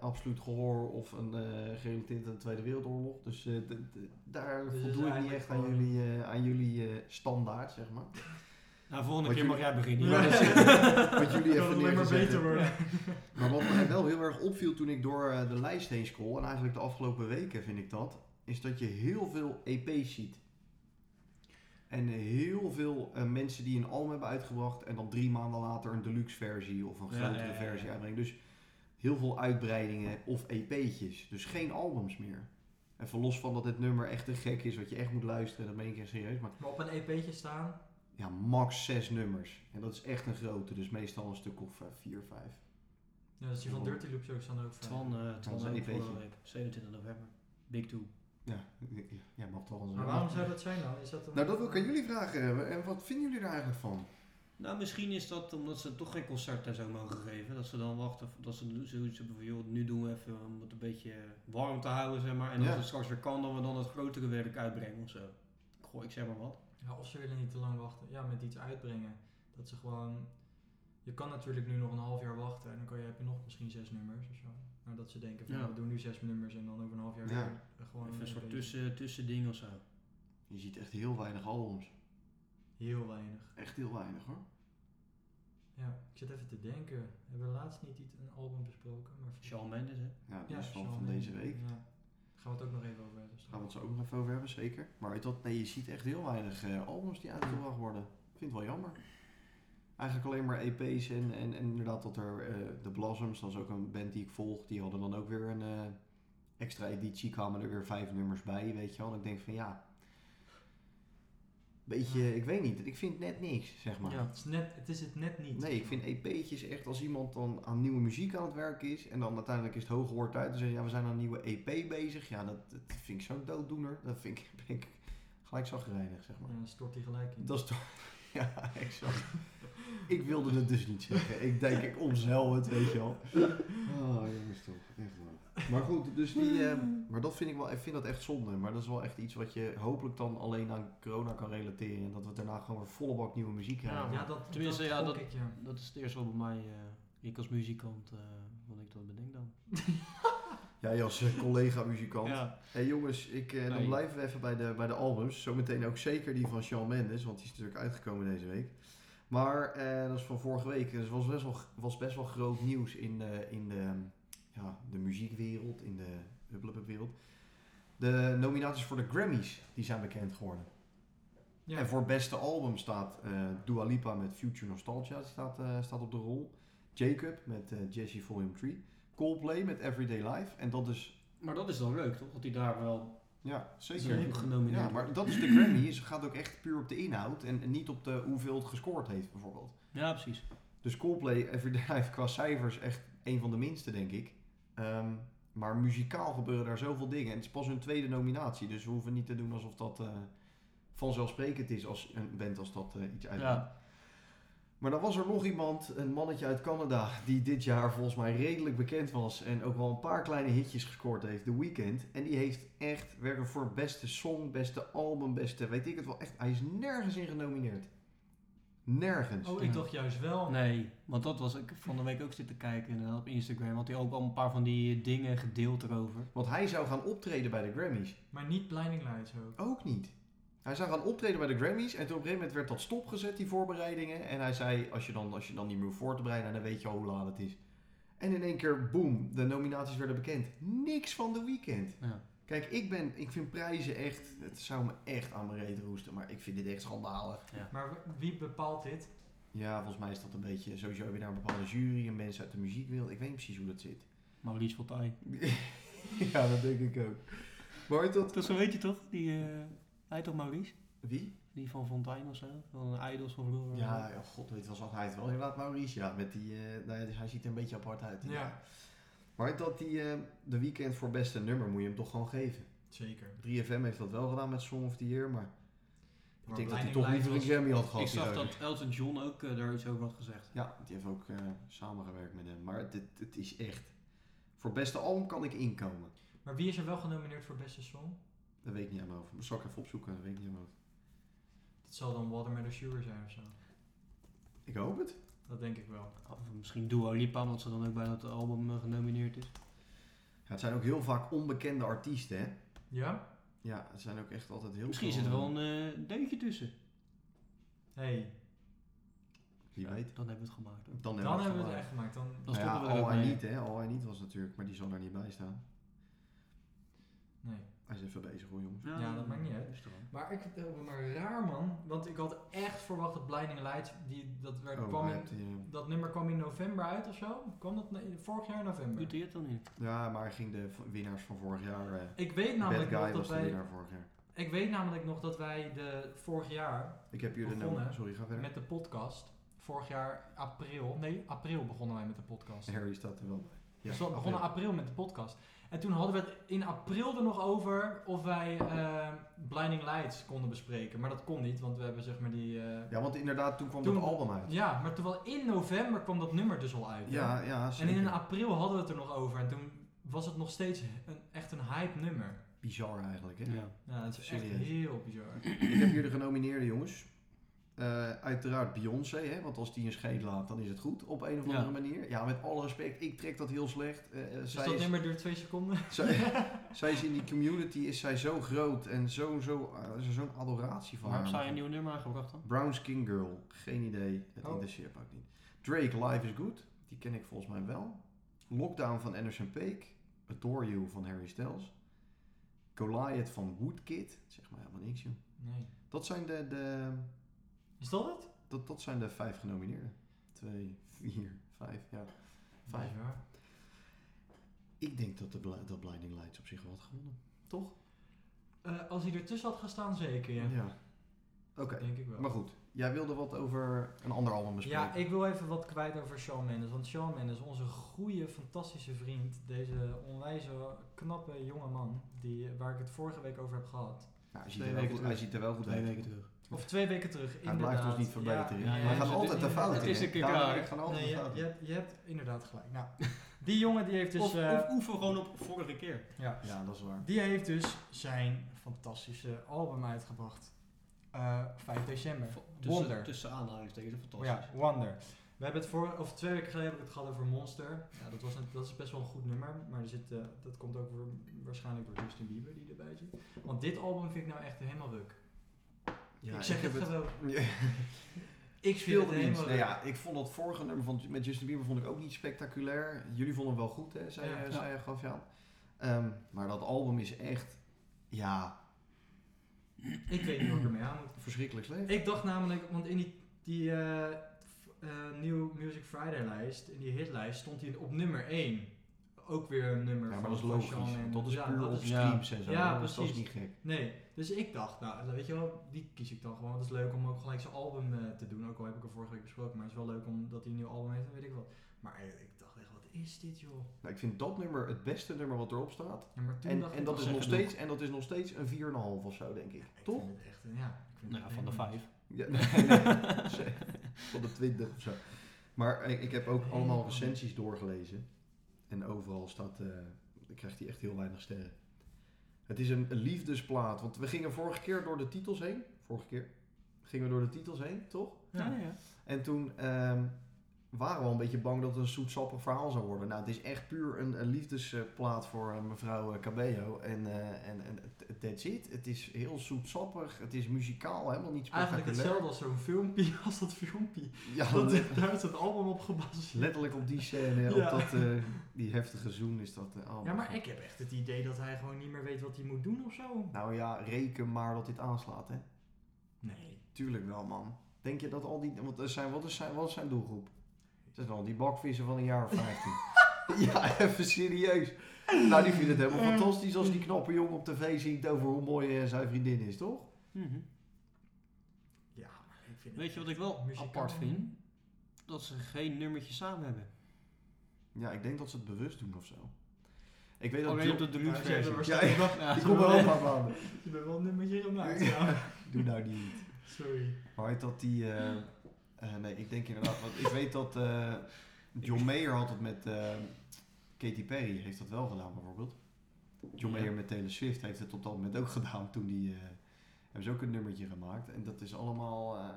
B: absoluut gehoor of een eh gerelateerd aan de Tweede Wereldoorlog. Dus eh, d- d- daar
A: Dus het is
B: voldoe ik niet
A: eigenlijk
B: echt aan
A: gewoon-
B: jullie, eh, aan jullie eh, standaard, zeg maar.
C: Nou, volgende
B: Wat
C: keer
B: je-
C: mag jij beginnen.
B: Ja, dat is- wat jullie
A: Dat het
B: even neer
A: alleen
B: te
A: maar
B: zetten.
A: beter worden.
B: Maar wat mij wel heel erg opviel toen ik door eh, de lijst heen scroll, en eigenlijk de afgelopen weken vind ik dat, is dat je heel veel EP's ziet. En heel veel eh, mensen die een album hebben uitgebracht en dan drie maanden later een deluxe versie of een
C: Ja,
B: grotere
C: ja, ja, ja.
B: versie uitbrengen. Dus heel veel uitbreidingen of EP'tjes. Dus geen albums meer. Even los van dat dit nummer echt te gek is, wat je echt moet luisteren, dat meen ik echt serieus. Maar
A: Maar op een EP'tje staan,
B: ja, max zes nummers. En dat is echt een grote, dus meestal een stuk of eh, vier, vijf.
A: ja, dat is die van Dirty Loops ook, staan er ook van.
C: Twan, eh
B: Twan
C: Twan
B: zei
C: ook
B: een beetje.
C: vorige week. 27 november. Big two.
B: Ja, jij mag toch
A: Maar waarom zou dat zijn dan? Is dat een-
B: Nou, dat wil ik aan jullie vragen. En wat vinden jullie er eigenlijk van?
C: Nou, misschien is dat omdat ze toch geen concert en zo mogen geven. Dat ze dan wachten, of dat ze nu- zoiets hebben van, joh, nu doen we even om het een beetje warm te houden, zeg maar. En als
B: Ja.
C: het straks weer kan, dan we dan het grotere werk uitbrengen of zo. Goh, ik zeg maar wat.
A: Ja, of ze willen niet te lang wachten. Ja, met iets uitbrengen. Dat ze gewoon... Je kan natuurlijk nu nog een half jaar wachten en dan kan je, heb je nog misschien zes nummers of zo. Maar dat ze denken van,
C: Ja.
A: we doen nu zes nummers en dan over een half jaar
B: Ja.
A: weer Eh, gewoon...
C: Even een soort
A: beetje.
C: tussen, tussending of zo.
B: Je ziet echt heel weinig albums.
A: Heel weinig.
B: Echt heel weinig hoor.
A: Ja, ik zit even te denken. We hebben laatst niet iets, een album besproken, maar...
C: Shawn Mendes, hè.
B: Ja,
A: Ja,
B: dus van,
A: Shawn
B: van
A: Mendes.
B: deze week.
A: Ja. Gaan we het ook nog even over hebben. dus straks.
B: Gaan we het zo ook nog even over hebben, zeker. Maar dat, nee, je ziet echt heel weinig eh, albums die uitgebracht worden. Ik vind het wel jammer. Eigenlijk alleen maar EP's en, en, en inderdaad dat er eh, de Blossoms, dat is ook een band die ik volg, die hadden dan ook weer een eh, extra editie, kwamen er weer vijf nummers bij, weet je wel. En ik denk van ja, beetje, ik weet niet, ik vind net niks, zeg maar.
A: Ja, het, is net, het is het net niet.
B: Nee, ik vind E EP'tjes echt als iemand dan aan nieuwe muziek aan het werk is en dan uiteindelijk is het hoge woord uit en zeggen ja, we zijn aan een nieuwe EP bezig. Ja, dat, dat vind ik zo'n dooddoener. Dat vind ik, ben ik gelijk zagrijnig, zeg maar.
A: Ja, dan stort hij gelijk in.
B: Dat is toch... Ja, exact. ik wilde het dus niet zeggen. Ik denk, ik omzeil het, weet je wel. Oh, jongens toch. Echt waar. Maar goed, dus die... eh, maar dat vind ik wel... Ik vind dat echt zonde. Maar dat is wel echt iets wat je hopelijk dan alleen aan corona kan relateren. En dat we daarna gewoon weer volle bak nieuwe muziek krijgen.
A: ja, dat,
C: Tenminste,
A: dat
C: ja,
A: gok
C: dat-
A: ik, ja.
C: Dat is het eerste wat bij mij, eh, ik als muzikant, eh, wat ik dat bedenk dan.
B: Jij als eh, collega-muzikant.
C: Ja.
B: Hey jongens, ik, eh, dan
C: Nee.
B: blijven we even bij de, bij de albums. Zometeen ook zeker die van Shawn Mendes, want die is natuurlijk uitgekomen deze week. Maar eh, dat is van vorige week. Dus was best wel, was best wel groot nieuws in de, in de, ehm, ja, de muziekwereld, in de huppeluppenwereld. De nominaties voor de Grammys, die zijn bekend geworden.
A: Ja.
B: En voor beste album staat eh Dua Lipa met Future Nostalgia, die staat, eh, staat op de rol. Jacob met eh Jesse Volume 3. Coldplay met Everyday Life. En dat is
C: Maar dat is dan leuk, toch? Dat hij daar wel
B: ja, zeker.
C: zeker genomineerd
B: Ja, maar dat is de Grammy. Ze gaat ook echt puur op de inhoud en en niet op de hoeveel het gescoord heeft, bijvoorbeeld.
C: Ja, precies.
B: Dus Coldplay Everyday Life qua cijfers echt een van de minste, denk ik. Ehm, maar muzikaal gebeuren daar zoveel dingen. En het is pas hun tweede nominatie, dus we hoeven niet te doen alsof dat eh, vanzelfsprekend is als een band als dat eh, iets uitkomt.
C: Ja.
B: Maar dan was er nog iemand, een mannetje uit Canada, die dit jaar volgens mij redelijk bekend was en ook wel een paar kleine hitjes gescoord heeft, The Weeknd. En die heeft echt werken voor beste song, beste album, beste, weet ik het wel, echt, hij is nergens in genomineerd. Nergens.
A: Oh, ik
C: Ja.
A: dacht juist wel.
C: Nee, want dat was, ik heb van de week ook zitten kijken inderdaad, op Instagram. Had hij ook al een paar van die eh, dingen gedeeld erover.
B: Want hij zou gaan optreden bij de Grammys.
A: Maar niet Blinding Lights ook.
B: Ook niet. Hij zou gaan optreden bij de Grammys en toen op een gegeven moment werd dat stopgezet, die voorbereidingen. En hij zei, als je dan, als je dan niet meer hoeft voor te bereiden, dan weet je al hoe laat het is. En in één keer, boom, de nominaties werden bekend. Niks van de weekend.
C: Ja.
B: Kijk, ik, ben, ik vind prijzen echt, het zou me echt aan mijn reet roesten, maar ik vind dit echt schandalig.
A: Maar w- wie bepaalt dit?
B: Ja, volgens mij is dat een beetje sowieso weer naar een bepaalde jury en mensen uit de muziekwereld. Ik weet niet precies hoe dat zit.
C: Maurice Voltaille.
B: ja, dat denk ik ook. Maar dat...
C: Dat zo weet je toch? Die, eh, hij toch Maurice?
B: Wie?
C: Die van Fontaine of zo? Van de Idols van vroeger?
B: Ja, ja, god weet wel, zag hij het wel inderdaad, Maurice. Ja, met die, eh, nou ja, hij ziet er een beetje apart uit.
A: Ja.
B: Maar dat die, eh, de weekend voor beste nummer moet je hem toch gewoon geven.
A: Zeker.
B: 3FM heeft dat wel gedaan met Song of the Year, maar ik
A: Maar
B: denk dat hij
A: Blinding
B: toch
A: Lights
B: liever een
A: was-
B: Grammy had gehad.
C: Ik
B: die
C: zag
B: gozer.
C: dat Elton John ook eh, daar iets over had gezegd.
B: Ja, die heeft ook eh, samengewerkt met hem. Maar dit, het is echt... Voor beste album kan ik inkomen.
A: Maar wie is er wel genomineerd voor beste song?
B: Dat weet ik niet aan mijn hoofd. Maar Zal ik even opzoeken? Dat weet ik niet aan mijn hoofd.
A: Dat zal dan Watermelon Sugar zijn of zo.
B: Ik hoop het.
A: Dat denk ik wel.
C: Of misschien Dua Lipa, omdat ze dan ook bij dat album eh, genomineerd is.
B: Ja, het zijn ook heel vaak onbekende artiesten, hè?
A: Ja?
B: Ja, het zijn ook echt altijd heel
C: Misschien
B: veel,
C: zit er wel
B: eh,
C: een eh, deuntje tussen.
A: Hey,
B: Wie weet.
C: Dan hebben we het gemaakt. hoor.
B: Dan,
A: dan hebben we
B: gemaakt.
A: het echt gemaakt. Dan...
C: Dan
B: Nou ja,
C: stoppen we er
B: All
C: ook
B: I
C: mee.
B: Need, hè. All I Need was natuurlijk, maar die zal daar niet bij staan.
A: Nee.
B: Hij is even bezig hoor, jongens.
A: Ja, dat maakt niet uit.
C: Rustig aan.
A: Maar ik eh, maar raar man, want ik had echt verwacht dat Blinding Lights, die, dat, werd,
B: Oh,
A: kwam
B: hij
A: in,
B: heeft, eh,
A: dat nummer kwam in november uit of zo. Kwam dat ne- vorig jaar in november?
C: Doet hij het dan niet?
B: eh, ja, maar hij ging de v- winnaars van vorig jaar... eh
A: Ik weet
B: Bad
A: namelijk nog
B: Guy
A: dat
B: was de
A: wij,
B: winnaar vorig jaar.
A: ik weet namelijk nog dat wij de vorig jaar
B: Ik heb jullie de
A: begonnen
B: nummer... Sorry, ga verder.
A: met de podcast, vorig jaar april, nee april begonnen wij met de podcast.
B: Harry staat er wel bij. Ja,
A: dus we
B: april.
A: begonnen april met de podcast. En toen hadden we het in april er nog over of wij eh, Blinding Lights konden bespreken. Maar dat kon niet, want we hebben zeg maar die... eh,
B: Ja, want inderdaad, toen kwam
A: Toen-
B: dat album uit.
A: Ja, maar terwijl in november kwam dat nummer dus al uit. hè?
B: Ja, ja,
A: en
B: zeker.
A: in april hadden we het er nog over. En toen was het nog steeds een, echt een hype nummer.
B: Bizar eigenlijk, hè?
C: Ja.
A: Ja, dat is echt
B: Serieus?
A: heel bizar.
B: Ik heb jullie genomineerde jongens. Eh, uiteraard Beyoncé, hè? want als die een scheet laat, dan is het goed op een of
C: Ja.
B: andere manier. Ja, met alle respect, ik trek dat heel slecht. Eh, eh,
A: Dus
B: zij
A: dat
B: is-
A: nummer duurt twee seconden.
B: Zij, zij is in die community is zij zo groot en zo, zo, er is zo'n adoratie van
C: Waarom
B: haar.
C: zou je een nieuw nummer aangebracht dan?
B: Brown Skin Girl, geen idee. Het
A: Oh.
B: interesseert me ook niet. Drake, Life is Good, die ken ik volgens mij wel. Lockdown van Anderson Peek. Adore You van Harry Styles. Goliath van Woodkid, zeg maar helemaal niks joh.
A: Nee.
B: Dat zijn de, de,
A: Is dat het?
B: dat, dat zijn de vijf genomineerden. Twee, vier, vijf, ja. Vijf.
A: Bizar.
B: Ik denk dat, de, Bla- dat Blinding Lights op zich wel had gewonnen. Toch?
A: Eh, als hij ertussen had gestaan, zeker. Ja.
B: Ja. Oké,
A: denk ik wel.
B: maar goed. Jij wilde wat over een ander album bespreken.
A: Ja, ik wil even wat kwijt over Shawn Mendes. Want Shawn Mendes, onze goede, fantastische vriend. Deze onwijze, knappe jonge man. Die, waar ik het vorige week over heb gehad.
B: Nou, hij, ziet
C: Twee
B: er wel
C: weken
B: goed, hij
C: terug.
B: ziet er wel goed
C: Twee
B: uit.
C: weken terug.
A: Of twee weken terug,
B: Hij
A: inderdaad.
B: blijft ons niet verbeteren.
A: Ja,
C: ja, ja, dus
B: hij gaat
C: het-
B: altijd de
A: het-
B: fout
C: het
B: in.
C: is
B: hè?
C: een keer
B: Daarom
C: klaar.
B: ben ik van altijd
A: Nee,
B: de
A: je,
B: fout in.
A: je hebt, je hebt inderdaad gelijk. Nou, die jongen die heeft dus...
C: of,
A: eh,
C: of oefen gewoon op vorige keer.
A: ja.
B: Ja, dat is waar.
A: Die heeft dus zijn fantastische album uitgebracht. Eh, 5 december.
C: Tussen,
A: Wonder.
C: tussen aanhalingstekens, fantastisch.
A: Ja, Wonder. We hebben het voor, of twee weken geleden heb ik het gehad over Monster. Ja, dat, was een, dat is best wel een goed nummer, maar er zit, eh, dat komt ook voor, waarschijnlijk door Justin Bieber die erbij zit. Want dit album vind ik nou echt helemaal ruk.
B: Ja,
A: ik zeg
B: heb
A: het gewoon.
B: Ja.
A: Ik vind het
B: Speelde niet.
A: helemaal
B: Nou
A: ruk.
B: ja, ik vond dat vorige nummer van, met Justin Bieber vond ik ook niet spectaculair. Jullie vonden hem wel goed, hè, zei,
A: Ja.
B: je-
A: Ja.
B: zei je, gaf je aan. Ehm, maar dat album is echt, ja,
A: Ik weet niet wat ik ermee aan moet.
B: verschrikkelijk slecht.
A: Ik dacht namelijk, want in die, die eh, f- eh, New Music Friday lijst, in die hitlijst, stond hij op nummer 1. Ook weer een nummer
B: Ja, maar
A: van
B: dat is
A: van
B: logisch.
A: Shawn
B: want
A: Mendes.
B: Dat is
A: Ja,
B: puur
A: dat
B: op
A: is-
B: streams en zo.
A: Ja,
B: dus dat is
A: precies.
B: niet gek.
A: Nee, dus ik dacht, nou weet je wel, die kies ik dan gewoon. want Het is leuk om ook gelijk zijn album eh, te doen. Ook al heb ik er vorige week besproken, maar het is wel leuk omdat hij een nieuw album heeft en weet ik wat. Maar eh, ik dacht echt, wat is dit joh?
B: Nou, ik vind dat nummer het beste nummer wat erop staat.
A: Ja, maar toen
B: En,
A: dacht
B: en,
A: ik
B: dat
A: wel,
B: is nog
C: zeggen
B: steeds, en dat is nog steeds een 4,5 of zo, denk ik.
A: ik
B: Toch?
A: vind het echt, een- ja. ik vind
C: Nou,
A: het
C: van de
A: helemaal-
C: vijf.
B: Ja, nee, ze- van de 20 of zo. Maar ik, ik heb ook allemaal recensies doorgelezen. En overal staat, eh, dan krijgt hij echt heel weinig sterren. Het is een, een liefdesplaat. Want we gingen vorige keer door de titels heen. Vorige keer gingen we door de titels heen, toch?
A: Ja.
B: En toen ehm, waren we al een beetje bang dat het een zoetsappig verhaal zou worden. Nou, het is echt puur een, een liefdesplaat voor eh, mevrouw eh, Cabello. En, eh, en, en t- that's it. Het is heel zoetsappig. Het is muzikaal, helemaal niet spectaculair.
A: Eigenlijk hetzelfje als zo'n filmpje, als dat filmpje.
B: Ja,
A: Dat,
B: le-
A: daar is het album op gebaseerd.
B: letterlijk op die scène,
A: Ja.
B: op dat, eh, die heftige zoen is dat. eh, oh,
A: Ja, maar ik heb echt het idee dat hij gewoon niet meer weet wat hij moet doen of zo.
B: Nou ja, reken maar dat dit aanslaat, hè.
A: Nee.
B: Tuurlijk wel, man. Denk je dat al die... Want er zijn, wat, is zijn, wat is zijn doelgroep? Dat zijn al die bakvissen van een jaar of 15. ja, even serieus. Nou, die vindt het helemaal fantastisch als die knappe jongen op tv zingt over hoe mooi eh, zijn vriendin is, toch?
A: Ja, maar ik vind
C: Mhm. Weet je wat ik wel
A: Muzikaal.
C: apart vind? Dat ze geen nummertje samen hebben.
B: Ja, ik denk dat ze het bewust doen of zo. Ik weet dat...
C: Alleen op
B: John-
C: de
A: Ja,
C: deluxe
A: ze hebben
C: versie.
B: Ja,
A: waarschijnlijk wel-
C: Ja,
B: ik kom wel een paar maanden.
A: Je bent wel een nummertje om na te gaan.
B: Doe nou niet.
A: Sorry.
B: Maar heet dat die... eh, eh, nee, ik denk inderdaad... Want ik weet dat eh, John Mayer had het met... eh, Katy Perry heeft dat wel gedaan bijvoorbeeld. John
C: Ja.
B: Mayer met Taylor Swift heeft het op dat moment ook gedaan. Toen die... eh, hebben ze ook een nummertje gemaakt. En dat is allemaal... eh,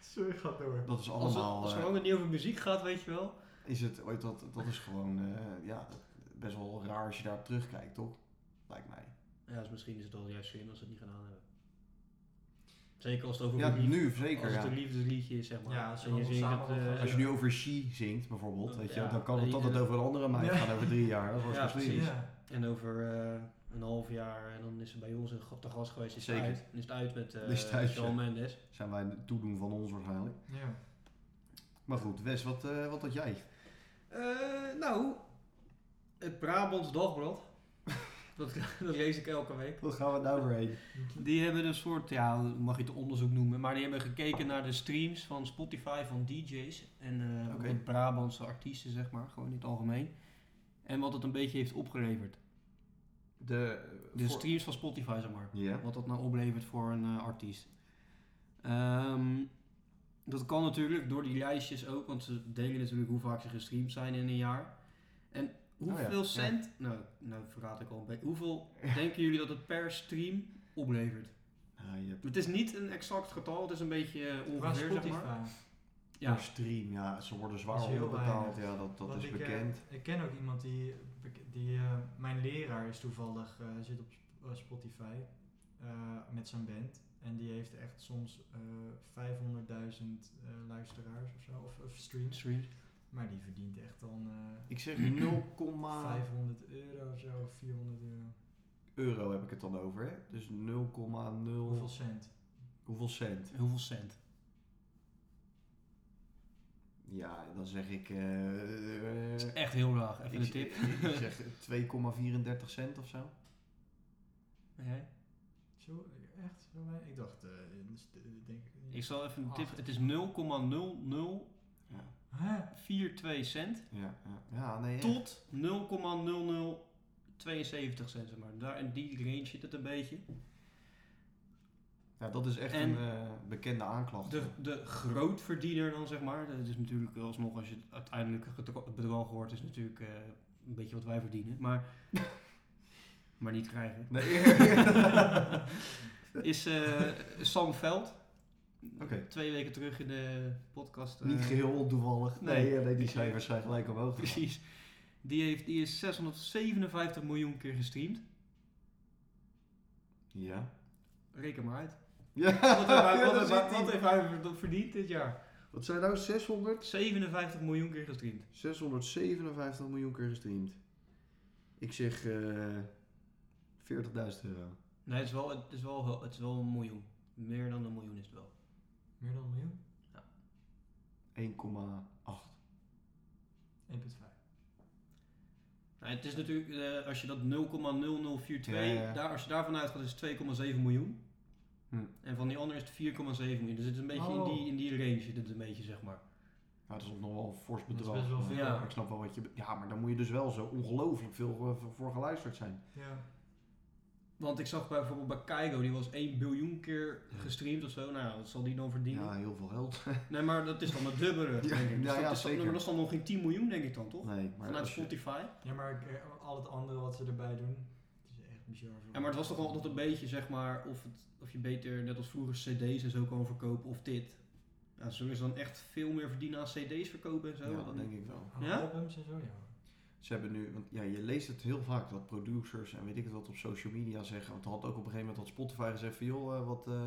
A: Sorry, gaat door.
B: dat is
C: Als het,
B: allemaal...
C: als het
B: eh,
C: gewoon niet over muziek gaat, weet je wel.
B: is het, ooit dat, dat is gewoon... eh, ja, best wel raar als je daar terugkijkt, toch? Lijkt mij.
C: Ja, dus misschien is het al juist zin als ze het niet gedaan hebben. Zeker als het over
B: Ja,
C: liefde-
B: nu
C: als
B: zeker,
C: het
B: ja.
C: een liefdesliedje is, zeg maar.
A: Ja, als je
C: En
A: dan
C: zingt
A: samen
C: het, eh,
A: opgaat.
B: Als je nu over She zingt bijvoorbeeld, weet je,
C: Ja.
B: dan kan het altijd over een andere meid
A: Ja.
B: gaan over drie jaar. Dat was
C: Ja,
B: misschien.
C: precies.
A: Ja.
C: En over eh, een half jaar, en dan is ze bij ons een te gast geweest, is het
B: Zeker.
C: uit. Dan is het uit met eh
B: Is het uit,
C: Shawn
B: ja.
C: Mendes.
B: Zijn wij het toedoen van ons waarschijnlijk.
A: ja.
B: Maar goed, Wes, wat, eh, wat had jij?
C: Eh, nou, het Brabants Dagblad. dat, dat lees ik elke week.
B: Wat gaan we nou weer heen?
C: Die hebben een soort, ja, mag je het onderzoek noemen, maar die hebben gekeken naar de streams van Spotify van DJ's en eh
B: Oké.
C: de Brabantse artiesten, zeg maar, gewoon in het algemeen. En wat het een beetje heeft opgeleverd.
B: De,
C: De eh, streams van Spotify, zeg maar.
B: Ja.
C: Wat dat nou oplevert voor een eh, artiest. Ehm, dat kan natuurlijk door die lijstjes ook, want ze delen natuurlijk hoe vaak ze gestreamd zijn in een jaar. En hoeveel
B: Oh ja, ja.
C: cent, nou, nou verraad ik al een beetje, hoeveel denken jullie dat het per stream oplevert?
B: Ja, je hebt
C: Het is niet een exact getal, het is een beetje eh,
A: Qua
C: ongeveer, zeg
A: Spotify.
C: maar.
B: ja.
C: Ja,
B: stream, ja, ze worden zwaar
A: Dat is heel
B: onderbetaald. Ja, dat, dat
A: Want
B: is
A: ik, eh,
B: bekend.
A: ik ken ook iemand die, die eh, mijn leraar is toevallig, eh, zit op Sp- eh, Spotify eh, met zijn band. En die heeft echt soms eh 500.000 eh, luisteraars of zo, of, of streams.
C: streams.
A: Maar die verdient echt dan eh,
B: ik zeg
C: Ah.
B: 0,5
A: 500 euro of zo, of 400 euro.
B: euro heb ik het dan over, hè? Dus 0,0
A: Hoeveel
B: hoeveel,
A: cent?
B: cent?
C: Hoeveel cent?
B: Ja, dan zeg ik... eh,
C: Dat
B: eh,
C: is echt heel laag, even
B: ik,
C: een tip.
B: ik zeg 2,34 cent of zo.
C: Jij?
A: Zo, echt? Zo weinig? Ik dacht, eh, dus, eh, denk,
C: Ik zal even een tip.
A: Acht.
C: Het is 0,0042
B: Ja,
A: Hè?
C: cent
B: ja, ja. ja nee. echt.
C: tot 0,0072 cent, zeg maar. Daar in die range zit het een beetje.
B: Ja, dat is echt
C: En-
B: een eh, bekende aanklacht.
C: De, de grootverdiener dan, zeg maar. Dat is natuurlijk alsnog, als je het uiteindelijke gedro- bedrag hoort, is natuurlijk eh, een beetje wat wij verdienen. Maar, maar niet krijgen.
B: Nee.
C: is eh, Sam Veld.
B: Oké.
C: Twee weken terug in de podcast. eh,
B: Niet geheel ontoevallig. Nee, eh,
C: Nee.
B: nee, die cijfers zijn gelijk omhoog. gegaan.
C: Precies. Die, heeft, die is 657 miljoen keer gestreamd.
B: Ja.
C: Reken maar uit.
B: Ja,
C: Wat heeft hij,
B: ja, daar
C: wat heeft
B: zit
C: hij-
B: hij.
C: wat heeft hij verd- verdiend dit jaar?
B: Wat zijn nou 600?
C: 57 miljoen keer gestreamd.
B: 657 miljoen keer gestreamd. Ik zeg eh 40.000 euro.
C: Nee, het is, wel, het, is wel, het is wel een miljoen. Meer dan een miljoen is het wel.
A: Meer dan een miljoen?
B: 1,8.
A: 1,5.
C: Nou, het is natuurlijk, eh, als je dat 0,0042,
B: Ja, ja, ja.
C: Daar, als je daarvan uitgaat, is het 2,7 miljoen.
B: Hm.
C: En van die andere is het 4,7 miljoen. Dus het is een beetje
A: Oh.
C: in, die, in die range, zit het een beetje, zeg maar.
B: Ja, dat is nog wel een fors
A: Dat is
B: bedrag.
A: best wel
B: maar
A: veel.
C: Ja.
B: Ik snap wel wat je... be- Ja, maar dan moet je dus wel zo ongelooflijk veel eh, voor- voor geluisterd zijn.
A: Ja.
C: Want ik zag bijvoorbeeld bij Keigo, die was 1 biljoen keer gestreamd of zo. Nou, ja, wat zal die dan verdienen?
B: Ja, heel veel geld.
C: Nee, maar dat is dan het dubbele,
B: Ja,
C: denk
B: ja,
C: ik. Dus dat,
B: ja,
C: is dan,
B: zeker.
C: dat is dan nog geen 10 miljoen, denk ik dan, toch?
B: Nee, maar...
C: Vanuit
B: als je-
C: Spotify.
A: ja, maar ik- eh, al het andere wat ze erbij doen, het is echt bizar. veel.
C: Ja, maar het was toch wel altijd een beetje, zeg maar, of, het, of je beter, net als vroeger, cd's en zo kan verkopen of dit. Ja, zullen ze dan echt veel meer verdienen aan cd's verkopen en zo?
B: Ja, dat denk ik wel.
A: Aan
C: Ja?
A: albums en zo, ja.
B: Ze hebben nu, want ja, je leest het heel vaak dat producers en weet ik het wat op social media zeggen. Want er had ook op een gegeven moment dat Spotify gezegd van joh, eh, wat, eh,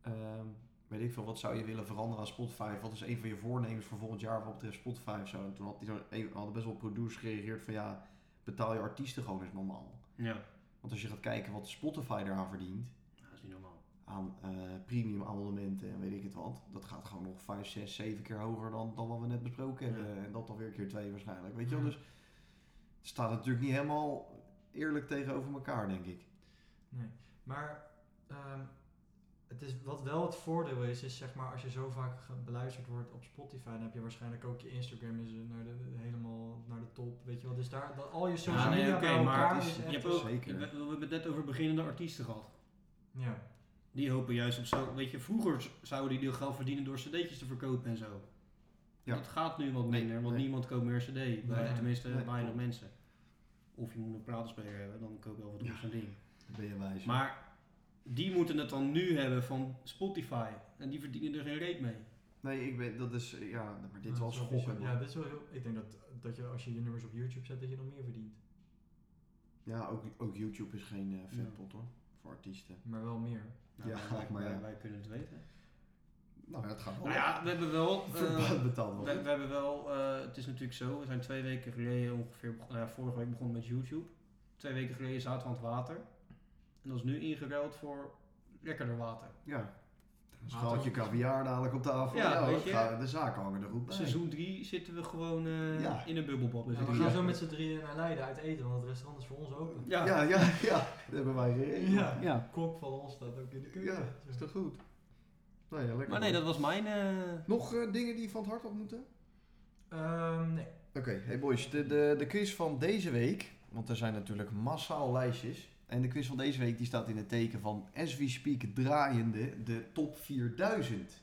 B: ehm, weet ik veel, wat zou je willen veranderen aan Spotify? Wat is een van je voornemens voor volgend jaar wat betreft Spotify of zo? En toen had die, zo- een- hadden best wel producers gereageerd van ja, betaal je artiesten gewoon eens normaal.
C: Ja,
B: Want als je gaat kijken wat Spotify eraan verdient,
C: dat is niet normaal.
B: aan eh, premium abonnementen en weet ik het wat, dat gaat gewoon nog 5, 6, 7 keer hoger dan, dan wat we net besproken hebben. En dat alweer keer 2 waarschijnlijk. Weet je wel,
A: Ja.
B: dus het staat natuurlijk niet helemaal eerlijk tegenover elkaar, denk ik.
A: Nee. Maar ehm, het is, wat wel het voordeel is, is zeg maar als je zo vaak ge- beluisterd wordt op Spotify, dan heb je waarschijnlijk ook je Instagram is eh, naar de, helemaal naar de top. Weet je wel, dus daar, dat, al je social
C: Ja, nee,
A: media
C: oké,
A: bij elkaar
C: maar
B: het
A: is
B: is-
A: echt...
C: Je hebt ook,
B: zeker.
C: we, we hebben het net over beginnende artiesten gehad.
A: Ja,
C: Die hopen juist op zo, weet je, vroeger z- zouden die geld verdienen door cd'tjes te verkopen en zo.
B: Ja.
C: Dat gaat nu wat minder, want
B: nee.
C: niemand koopt meer cd. Bij,
A: Nee,
C: tenminste,
B: nee,
C: weinig
B: klopt.
C: mensen. Of je moet een platenspeler hebben, dan koop je al wat
B: Ja.
C: op zo'n ding.
B: Dat ben je wijs.
C: Maar die moeten het dan nu hebben van Spotify. En die verdienen er geen reet mee.
B: Nee, ik ben, dat is, eh, ja, maar dit
A: Ja,
B: was
A: dat wel
B: schokkend.
A: bizar. Ja,
B: Ja.
A: dit is wel heel... Ik denk dat, dat je als je je nummers op YouTube zet, dat je nog meer verdient.
B: ook, ook YouTube is geen eh,
C: Ja.
B: vetpot hoor, voor artiesten.
A: Maar wel meer.
C: Nou,
B: Ja,
C: wij,
B: maar
C: wij-
B: ja.
C: wij kunnen het weten.
B: Nou, dat gaat wel.
C: Nou ja, we hebben wel... eh,
B: Verbaat betaald
C: we,
B: wel.
C: we hebben wel eh, het is natuurlijk zo, we zijn twee weken geleden ongeveer... begon- nou ja, vorige week begonnen met YouTube. Twee weken geleden zaten we aan het water. En dat is nu ingeruild voor lekkerder water.
B: Ja. Dus Een
A: Maar
B: schaaltje
A: toch-
B: caviar dadelijk op tafel.
C: Ja,
B: Ja,
C: weet
B: dat
C: je.
B: gaat- de zaken hangen er goed bij.
C: Seizoen 3 zitten we gewoon eh,
B: Ja.
C: in een bubbelbad. met
A: Ja,
C: z'n
A: we
B: drie
A: gaan
C: drieën.
A: zo met z'n drieën naar Leiden uit eten, want het restaurant is voor ons open.
C: Ja.
B: Ja, ja, ja. Dat hebben wij geregeld.
A: Ja.
C: Ja.
A: Kok van ons staat ook in de keuken.
B: Ja, is toch goed? Nou ja, lekker.
C: Maar nee, dat was mijn... eh,
B: Nog eh, dingen die van het hart op moeten?
A: Ehm, nee.
B: Oké, hey boys, de, de, de quiz van deze week, want er zijn natuurlijk massaal lijstjes. En de quiz van deze week die staat in het teken van As We Speak draaiende de top 4000.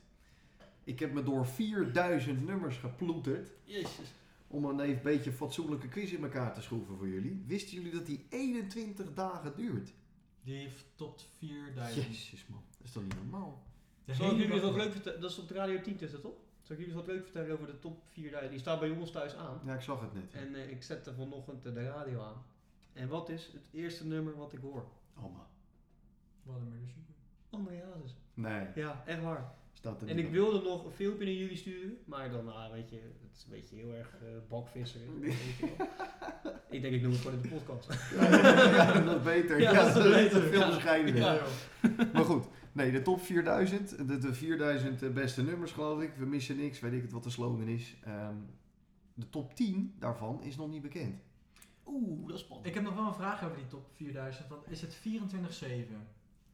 B: Ik heb me door 4000 nummers geploeterd
C: Jezus.
B: om een even beetje fatsoenlijke quiz in elkaar te schroeven voor jullie. Wisten jullie dat die 21 dagen duurt?
A: Die heeft tot 4000.
B: Jezus man, dat is toch niet normaal?
A: De
C: Zal ik
A: hele
C: jullie
A: dag
C: wat
A: door.
C: leuk vertellen? Dat is op de Radio 10 is dat toch? Zal ik jullie wat leuk vertellen over de top 4000? Die staat bij ons thuis aan.
B: Ja, ik zag het net.
C: En eh, ik zette vanochtend eh, de radio aan. En wat is het eerste nummer wat ik hoor?
B: Alma.
A: Wat een minder zoeken.
C: André Hazes.
B: Nee,
C: Ja, echt waar.
B: staat er
C: En
B: niet
C: ik
B: op.
C: wilde nog een filmpje naar jullie sturen. Maar dan, ah, weet je, het is een beetje heel erg eh bakvisser. Weet je wel. ik denk, ik noem het gewoon in de podcast.
B: ja, dat is beter.
C: Ja,
B: Ja,
C: dat is
B: dat is
C: beter.
B: veel
C: Ja.
B: bescheidener.
C: Ja.
B: Maar goed, nee, de top 4000. De, de 4000 beste nummers, geloof ik. We missen niks, weet ik het wat de slogan is. Ehm, de top 10 daarvan is nog niet bekend.
C: Oeh, dat is spannend.
A: Ik heb nog wel een vraag over die top 4000, want is het 24-7?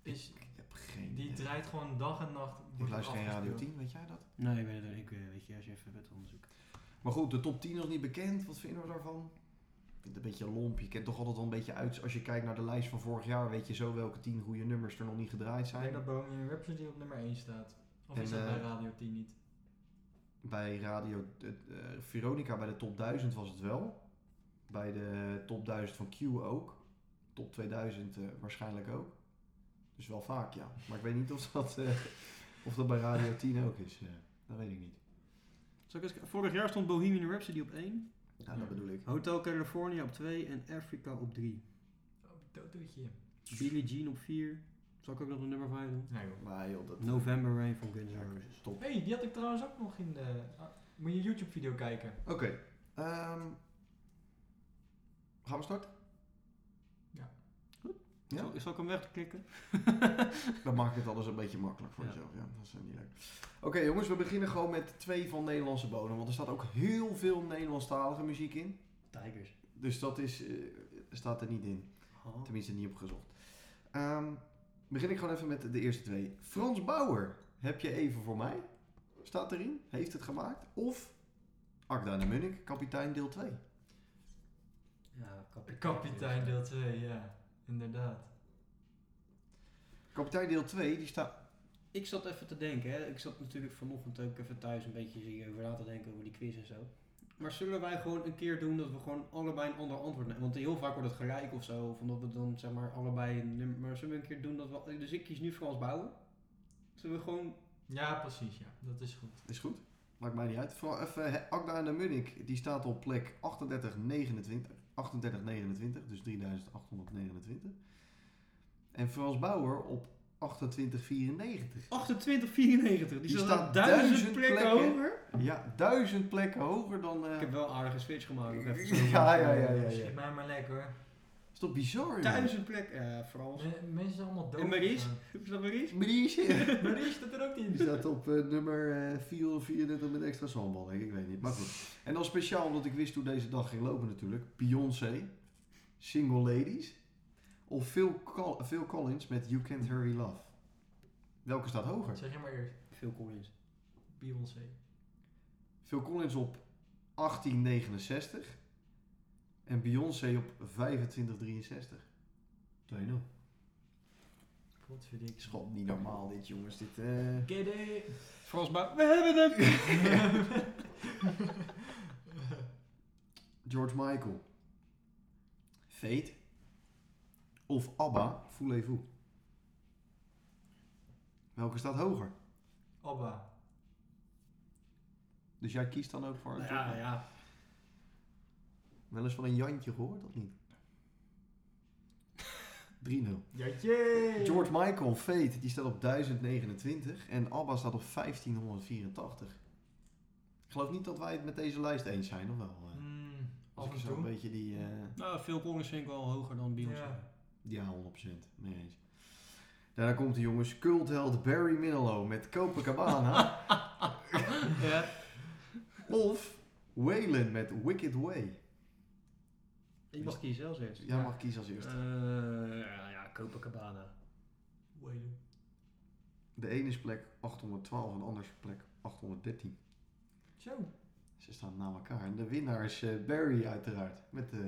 A: is,
B: Ik heb geen
A: die
B: idee.
A: draait gewoon dag en nacht.
B: Ik
A: wordt
B: luister geen Radio
A: afgespeeld.
B: 10, weet jij dat?
C: Nee, ik weet het niet. Ik, eh, weet je, als je even bent onderzoek.
B: Maar goed, de top 10 nog niet bekend. Wat vinden we daarvan? Ik vind het Een beetje lomp. Je kent toch altijd wel een beetje uit. Als je kijkt naar de lijst van vorig jaar, weet je zo welke 10 goede nummers er nog niet gedraaid
A: Ik
B: zijn.
A: denk dat Bohemian Rhapsody op nummer 1 staat. Of is
B: En,
A: dat bij
B: eh,
A: Radio 10 niet?
B: Bij Radio eh, eh, Veronica, bij de top 1000 was het wel. Bij de top 1000 van Q ook. Top 2000 eh, waarschijnlijk ook. Dus wel vaak, ja. Maar ik weet niet of dat, eh, of dat bij Radio 10 ook is. eh. dat weet ik niet.
C: Zal ik eens- Vorig jaar stond Bohemian Rhapsody op 1,
B: Ja, dat bedoel ik.
C: Hotel California op 2 en Africa op 3.
A: Oh, dooddoetje.
C: Billie Jean op 4. Zal ik ook nog een nummer 5 doen?
A: Nou joh.
B: Maar joh, dat...
C: November Rain van Guns N' Roses.
B: Top.
A: hey, die had ik trouwens ook nog in de... ah, moet je YouTube video kijken.
B: Oké. ehm, gaan we starten? Ja?
C: Zal, zal ik hem wegklikken?
B: Dan maak ik het alles een beetje makkelijk voor
C: Ja.
B: jezelf. Ja, dat is eh, niet leuk. Oké jongens, we beginnen gewoon met twee van Nederlandse bodem. Want er staat ook heel veel Nederlandstalige muziek in.
C: Tigers.
B: Dus dat is, eh, staat er niet in.
C: Oh.
B: Tenminste, niet opgezocht. Ehm begin ik gewoon even met de eerste twee. Frans Bauer, heb je even voor mij? Staat erin? Heeft het gemaakt? Of Akda de Munnik, kapitein deel 2.
C: Ja, kapitein.
A: Kapitein deel 2, ja. Inderdaad.
B: Kapitein deel 2, die staat...
C: Ik zat even te denken, hè. ik zat natuurlijk vanochtend ook even thuis een beetje hierover na te denken over die quiz en zo. Maar zullen wij gewoon een keer doen dat we gewoon allebei een ander antwoord nemen? Want heel vaak wordt het gelijk of zo, of omdat we dan zeg maar allebei een nummer. Maar zullen we een keer doen dat we. Dus ik kies nu Frans Bouwen. Zullen we gewoon.
A: Ja, precies, ja. Dat is goed.
B: Is goed, maakt mij niet uit. Vooral even hè, Akda de Munnik, die staat op plek 38, 29. 38, 29, dus 3829. En Frans Bauer op 28, 94.
C: 2894, die,
B: Die
C: staat
B: staat
C: duizend,
B: duizend
C: plekken,
B: plekken.
C: hoger.
B: Ja, duizend plekken hoger dan... eh,
C: Ik heb wel een aardige switch gemaakt. nog even zo.
B: Ja, ja, ja, ja. ja.
A: Schiet mij maar lekker hoor.
B: Is toch bizar? joh?
C: Duizend plekken, ja, eh, Frans.
A: Me- Mensen zijn allemaal dood.
C: En Maries? Heb je dat Maries?
B: Briesje.
A: Maries staat er ook niet in.
B: Die staat op eh, nummer eh, 4 of 34 met extra sambal, denk ik. Ik weet niet. Maar goed. En dan speciaal omdat ik wist hoe deze dag ging lopen natuurlijk. Beyoncé, Single Ladies of Phil, Col- Phil Collins met You Can't Hurry Love. Welke staat hoger?
A: Zeg jij maar eerst.
C: Veel Collins.
A: Beyoncé.
B: Phil Collins op 1869 en Beyoncé op 2563. 2-0.
A: Wat vind ik.
B: Schat, niet normaal dit jongens. Dit, eh,
A: Gede.
C: Frans Bouwen, we hebben hem!
B: George Michael. Fate. Of ABBA, Voulez-vous. Welke staat hoger?
A: Abba.
B: Dus jij kiest dan ook voor een
C: Ja,
B: top?
C: ja.
B: Wel eens van een Jantje gehoord, of niet? 3-0.
A: Jatje.
B: George Michael, Fate, die staat op 1029 en ABBA staat op 1584. Ik geloof niet dat wij het met deze lijst eens zijn, of wel? eh?
A: Mm,
B: Als
A: af
B: ik
A: en
B: zo een
A: toe.
B: beetje die... eh,
C: Nou, Phil Collins vind ik wel hoger dan Beyoncé.
A: Ja.
B: Ja, 100%. Mee eens. Daarna komt de jongens cultheld Barry Manilow met Copacabana.
C: Ja.
B: of Waylon met Wicked Way.
C: Ik mag kiezen zelfs eerst.
B: Jij mag kiezen als eerste.
C: Eh, ja, ja, Copacabana.
A: Waylon.
B: De ene is plek 812 en de andere is plek 813.
A: Zo.
B: Ze staan na elkaar. En de winnaar is eh, Barry uiteraard. Met, eh,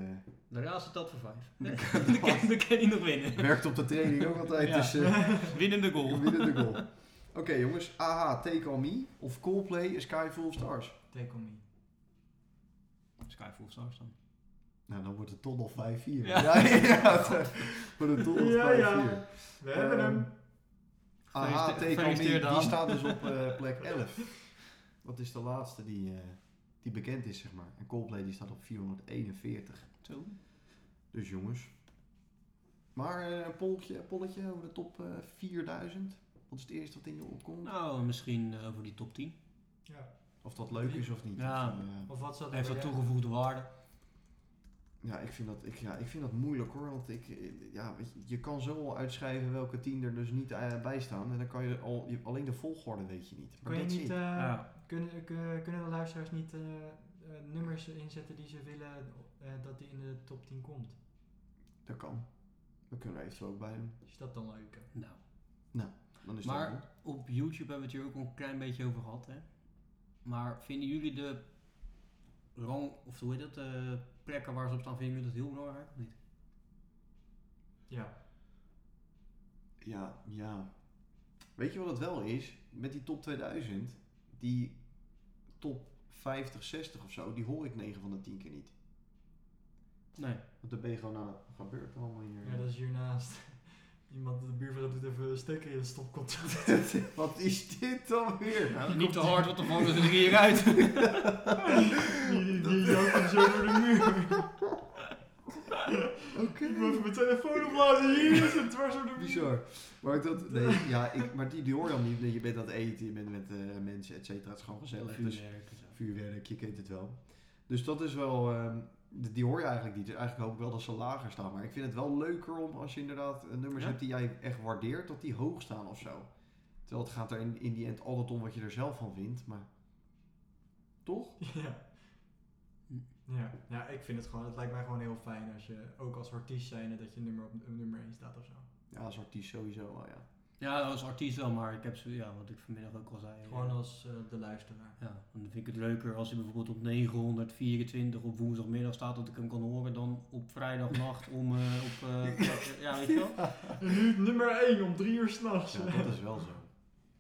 C: De raadste tat voor vijf. Nee, Dan kan, dan kan hij nog winnen.
B: werkt op de training ook altijd.
C: Ja.
B: Dus eh,
C: Winnende
B: we
C: goal.
B: winnen de goal. Oké jongens, AH, Take On Me of Coldplay, A Sky Full of Stars.
A: Take on me.
C: Skyfall Stars dan.
B: Nou, dan wordt het toch nog 5-4.
C: Ja.
B: Ja, ja, het wordt het toch nog 5-4.
A: Ja, ja. We hebben
B: Ehm,
A: hem.
B: Ah,
C: Gefeliciteerd-
B: Take On Me,
C: gefeliciteerd,
B: die
C: Daan.
B: staat dus op eh, plek 11. Dat is de laatste die, eh, die bekend is, zeg maar. En Coldplay die staat op 441.
C: Zo.
B: Dus jongens. Maar eh, een polletje, polletje over de top eh, 4000. Wat is het eerste wat in je opkomt?
C: Nou, misschien eh, over die top 10.
B: Of dat leuk is of niet.
C: Ja.
B: Of, eh,
A: Of wat zat
C: Heeft
A: bij
C: dat
A: jou?
C: toegevoegde waarde?
B: ja, ik vind dat, ik, ja, ik vind dat moeilijk hoor. Want ik, eh, ja, weet je, je kan zo al uitschrijven welke tien er dus niet eh, bij staan. En dan kan je, al, je- alleen de volgorde weet je niet. Maar
A: Kun je
B: that's
A: niet,
B: it.
A: eh,
C: Ja.
A: kunnen, kun- kunnen de luisteraars niet eh, eh, nummers inzetten die ze willen eh, dat die in de top 10 komt?
B: Dat kan. We kunnen er eventueel ook bij doen.
A: Is dat dan leuk? hè?
C: Nou,
B: Dan is
C: Maar-
B: dat goed.
C: Op YouTube hebben we het hier ook al een klein beetje over gehad. Hè? Maar vinden jullie de rang, of hoe heet dat, eh, plekken waar ze op staan, vinden jullie dat heel belangrijk of niet?
A: Ja.
B: Ja, ja. Weet je wat het wel is? Met die top 2000, die top 50, 60 of zo, die hoor ik 9 van de 10 keer niet.
C: Nee.
B: Want dan ben je gewoon aan het gebeurt er allemaal hier.
A: ja, dat is hiernaast. Iemand, de buurvrouw doet even een stekker in de stopcontact.
B: wat is dit dan weer? Nou,
C: niet te hard, want dan vallen ze er hieruit.
A: Die, die, die jankt hem zo door de muur.
B: Oké.
A: Ik moet even mijn telefoon opladen. Hier is het dwars door de muur.
B: Bizar. Maar, ik dat, nee, ja, ik, maar die, die hoor je dan niet. Nee, Je bent aan het eten, je bent met eh, mensen, et cetera. Het is gewoon gezellig. Dus
C: Vuurwerk en zo.
B: vuurwerk, je kent het wel. Dus dat is wel, ehm, d- die hoor je eigenlijk niet. Dus eigenlijk hoop ik wel dat ze lager staan. Maar ik vind het wel leuker om als je inderdaad eh, nummers
C: Ja.
B: hebt die jij echt waardeert, dat die hoog staan of zo. Terwijl het gaat er in, in die end altijd om wat je er zelf van vindt. Maar toch?
A: Ja. Ja. ja, ik vind het gewoon, het lijkt mij gewoon heel fijn als je, ook als artiest zijnde, dat je nummer op nummer 1 staat of zo.
B: Ja, als artiest sowieso wel, ja.
C: Ja, als artiest wel, maar ik heb zo, ja, wat ik vanmiddag ook al zei.
A: Gewoon als eh, de luisteraar.
C: Ja, dan vind ik het leuker als hij bijvoorbeeld op 924 op woensdagmiddag staat, dat ik hem kan horen, dan op vrijdagnacht om eh, op... eh, ja, weet je wel?
A: En nu nummer 1 om 3 uur s'nachts.
B: Ja, dat is wel zo.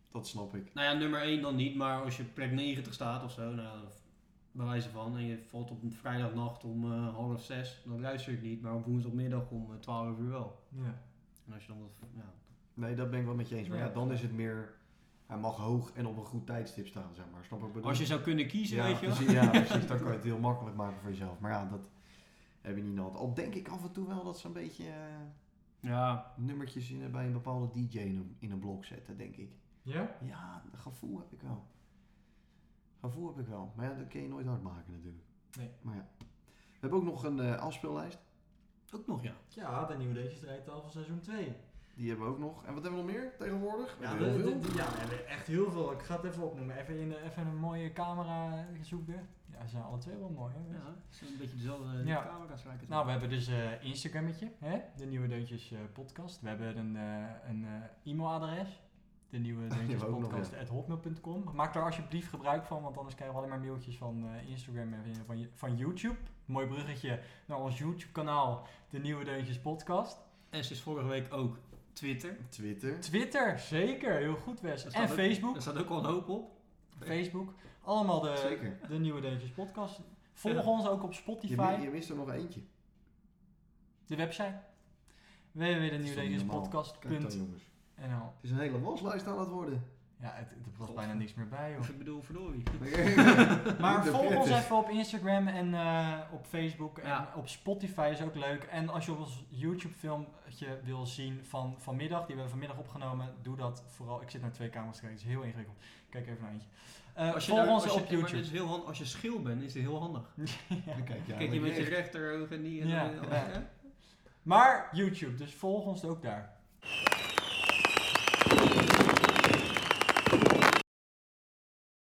B: Dat snap ik.
C: Nou ja, nummer 1 dan niet, maar als je op plek 90 staat of zo, nou, bij wijze van, en je valt op een vrijdagnacht om eh, half 6, dan luister ik niet, maar op woensdagmiddag om eh, 12 uur wel.
A: Ja.
C: En als je dan wat... Ja,
B: Nee, dat ben ik wel met je eens. Maar ja,
A: Ja.
B: dan is het meer... Hij mag hoog en op een goed tijdstip staan, zeg maar. Snap ik wat ik bedoel?
C: als je zou kunnen kiezen,
B: ja,
C: weet je wel?
B: precies, ja, precies. Dan kan je het heel makkelijk maken voor jezelf. Maar ja, dat heb je niet nodig. Al denk ik af en toe wel dat ze een beetje eh,
C: Ja,
B: nummertjes in, eh, bij een bepaalde DJ in een, in een blok zetten, denk ik.
A: Ja?
B: Ja, dat gevoel heb ik wel. Gevoel heb ik wel. Maar ja, dat kun je nooit hard maken natuurlijk.
A: Nee.
B: Maar ja. We hebben ook nog een eh, afspeellijst.
C: ook nog ja.
A: Ja, de nieuwe Dates Rijtafel seizoen 2.
B: Die hebben we ook nog. En wat hebben we nog meer tegenwoordig? We
A: Ja,
B: hebben
A: de-
B: heel
A: de- de- ja, we hebben echt heel veel. Ik ga het even opnoemen. Even, in, de- even een mooie camera zoeken. Ja, ze zijn alle twee wel mooi. Hè?
C: Ja, het is een beetje dezelfde eh,
A: Ja.
C: camera's lijken het
A: Nou,
C: op.
A: we hebben dus eh Instagrammetje, hè? de Nieuwe Deuntjes eh, podcast. We hebben een, eh, een eh, e-mailadres, de Nieuwe Deuntjes
B: hebben we ook nog,
A: podcast at hotmail.com. Maak daar alsjeblieft gebruik van, want anders krijgen we alleen maar mailtjes van eh, Instagram en van, van, van YouTube. Mooi bruggetje naar ons YouTube kanaal, de Nieuwe Deuntjes podcast.
C: En sinds vorige week ook Twitter.
B: Twitter.
A: Twitter, zeker, heel goed Wes.
C: Daar
A: En
C: staat ook-
A: Facebook,
C: Er staat ook al een hoop op.
A: Facebook. Allemaal de,
B: Zeker.
A: de Nieuwe Deuntjes podcast. Volg
C: Ja.
A: ons ook op
B: Je, mi-
A: Spotify,
B: je mist er nog eentje.
A: de website
B: is toch niet normaal? Kijk dan
A: www.denieuwedeuntjespodcast.nl
B: jongens. Het is een hele waslijst aan het worden.
A: Ja, het, het was
C: God.
A: bijna niks meer bij, joh.
C: Dus Ik bedoel, verdorie.
A: Maar
B: Hoe
A: volg ons
B: verkeerd is.
A: even op Instagram en eh, op Facebook en
C: Ja.
A: op Spotify is ook leuk. En als je ons YouTube filmpje wil zien van vanmiddag, die hebben we vanmiddag opgenomen, doe dat vooral. Ik zit naar twee camera's te kijken, het is heel ingewikkeld. Kijk even naar eentje. Eh volg
C: daar-
A: ons
C: als je-
A: op
C: ja, maar
A: YouTube.
C: dit is heel handig. Als je schil bent, is het heel handig.
B: Dan kijk je
C: Kijk je
B: eigenlijk
C: met je
B: recht.
C: rechteroog en die en
A: Ja,
C: dan-
A: ja. Maar YouTube, dus volg ons ook daar.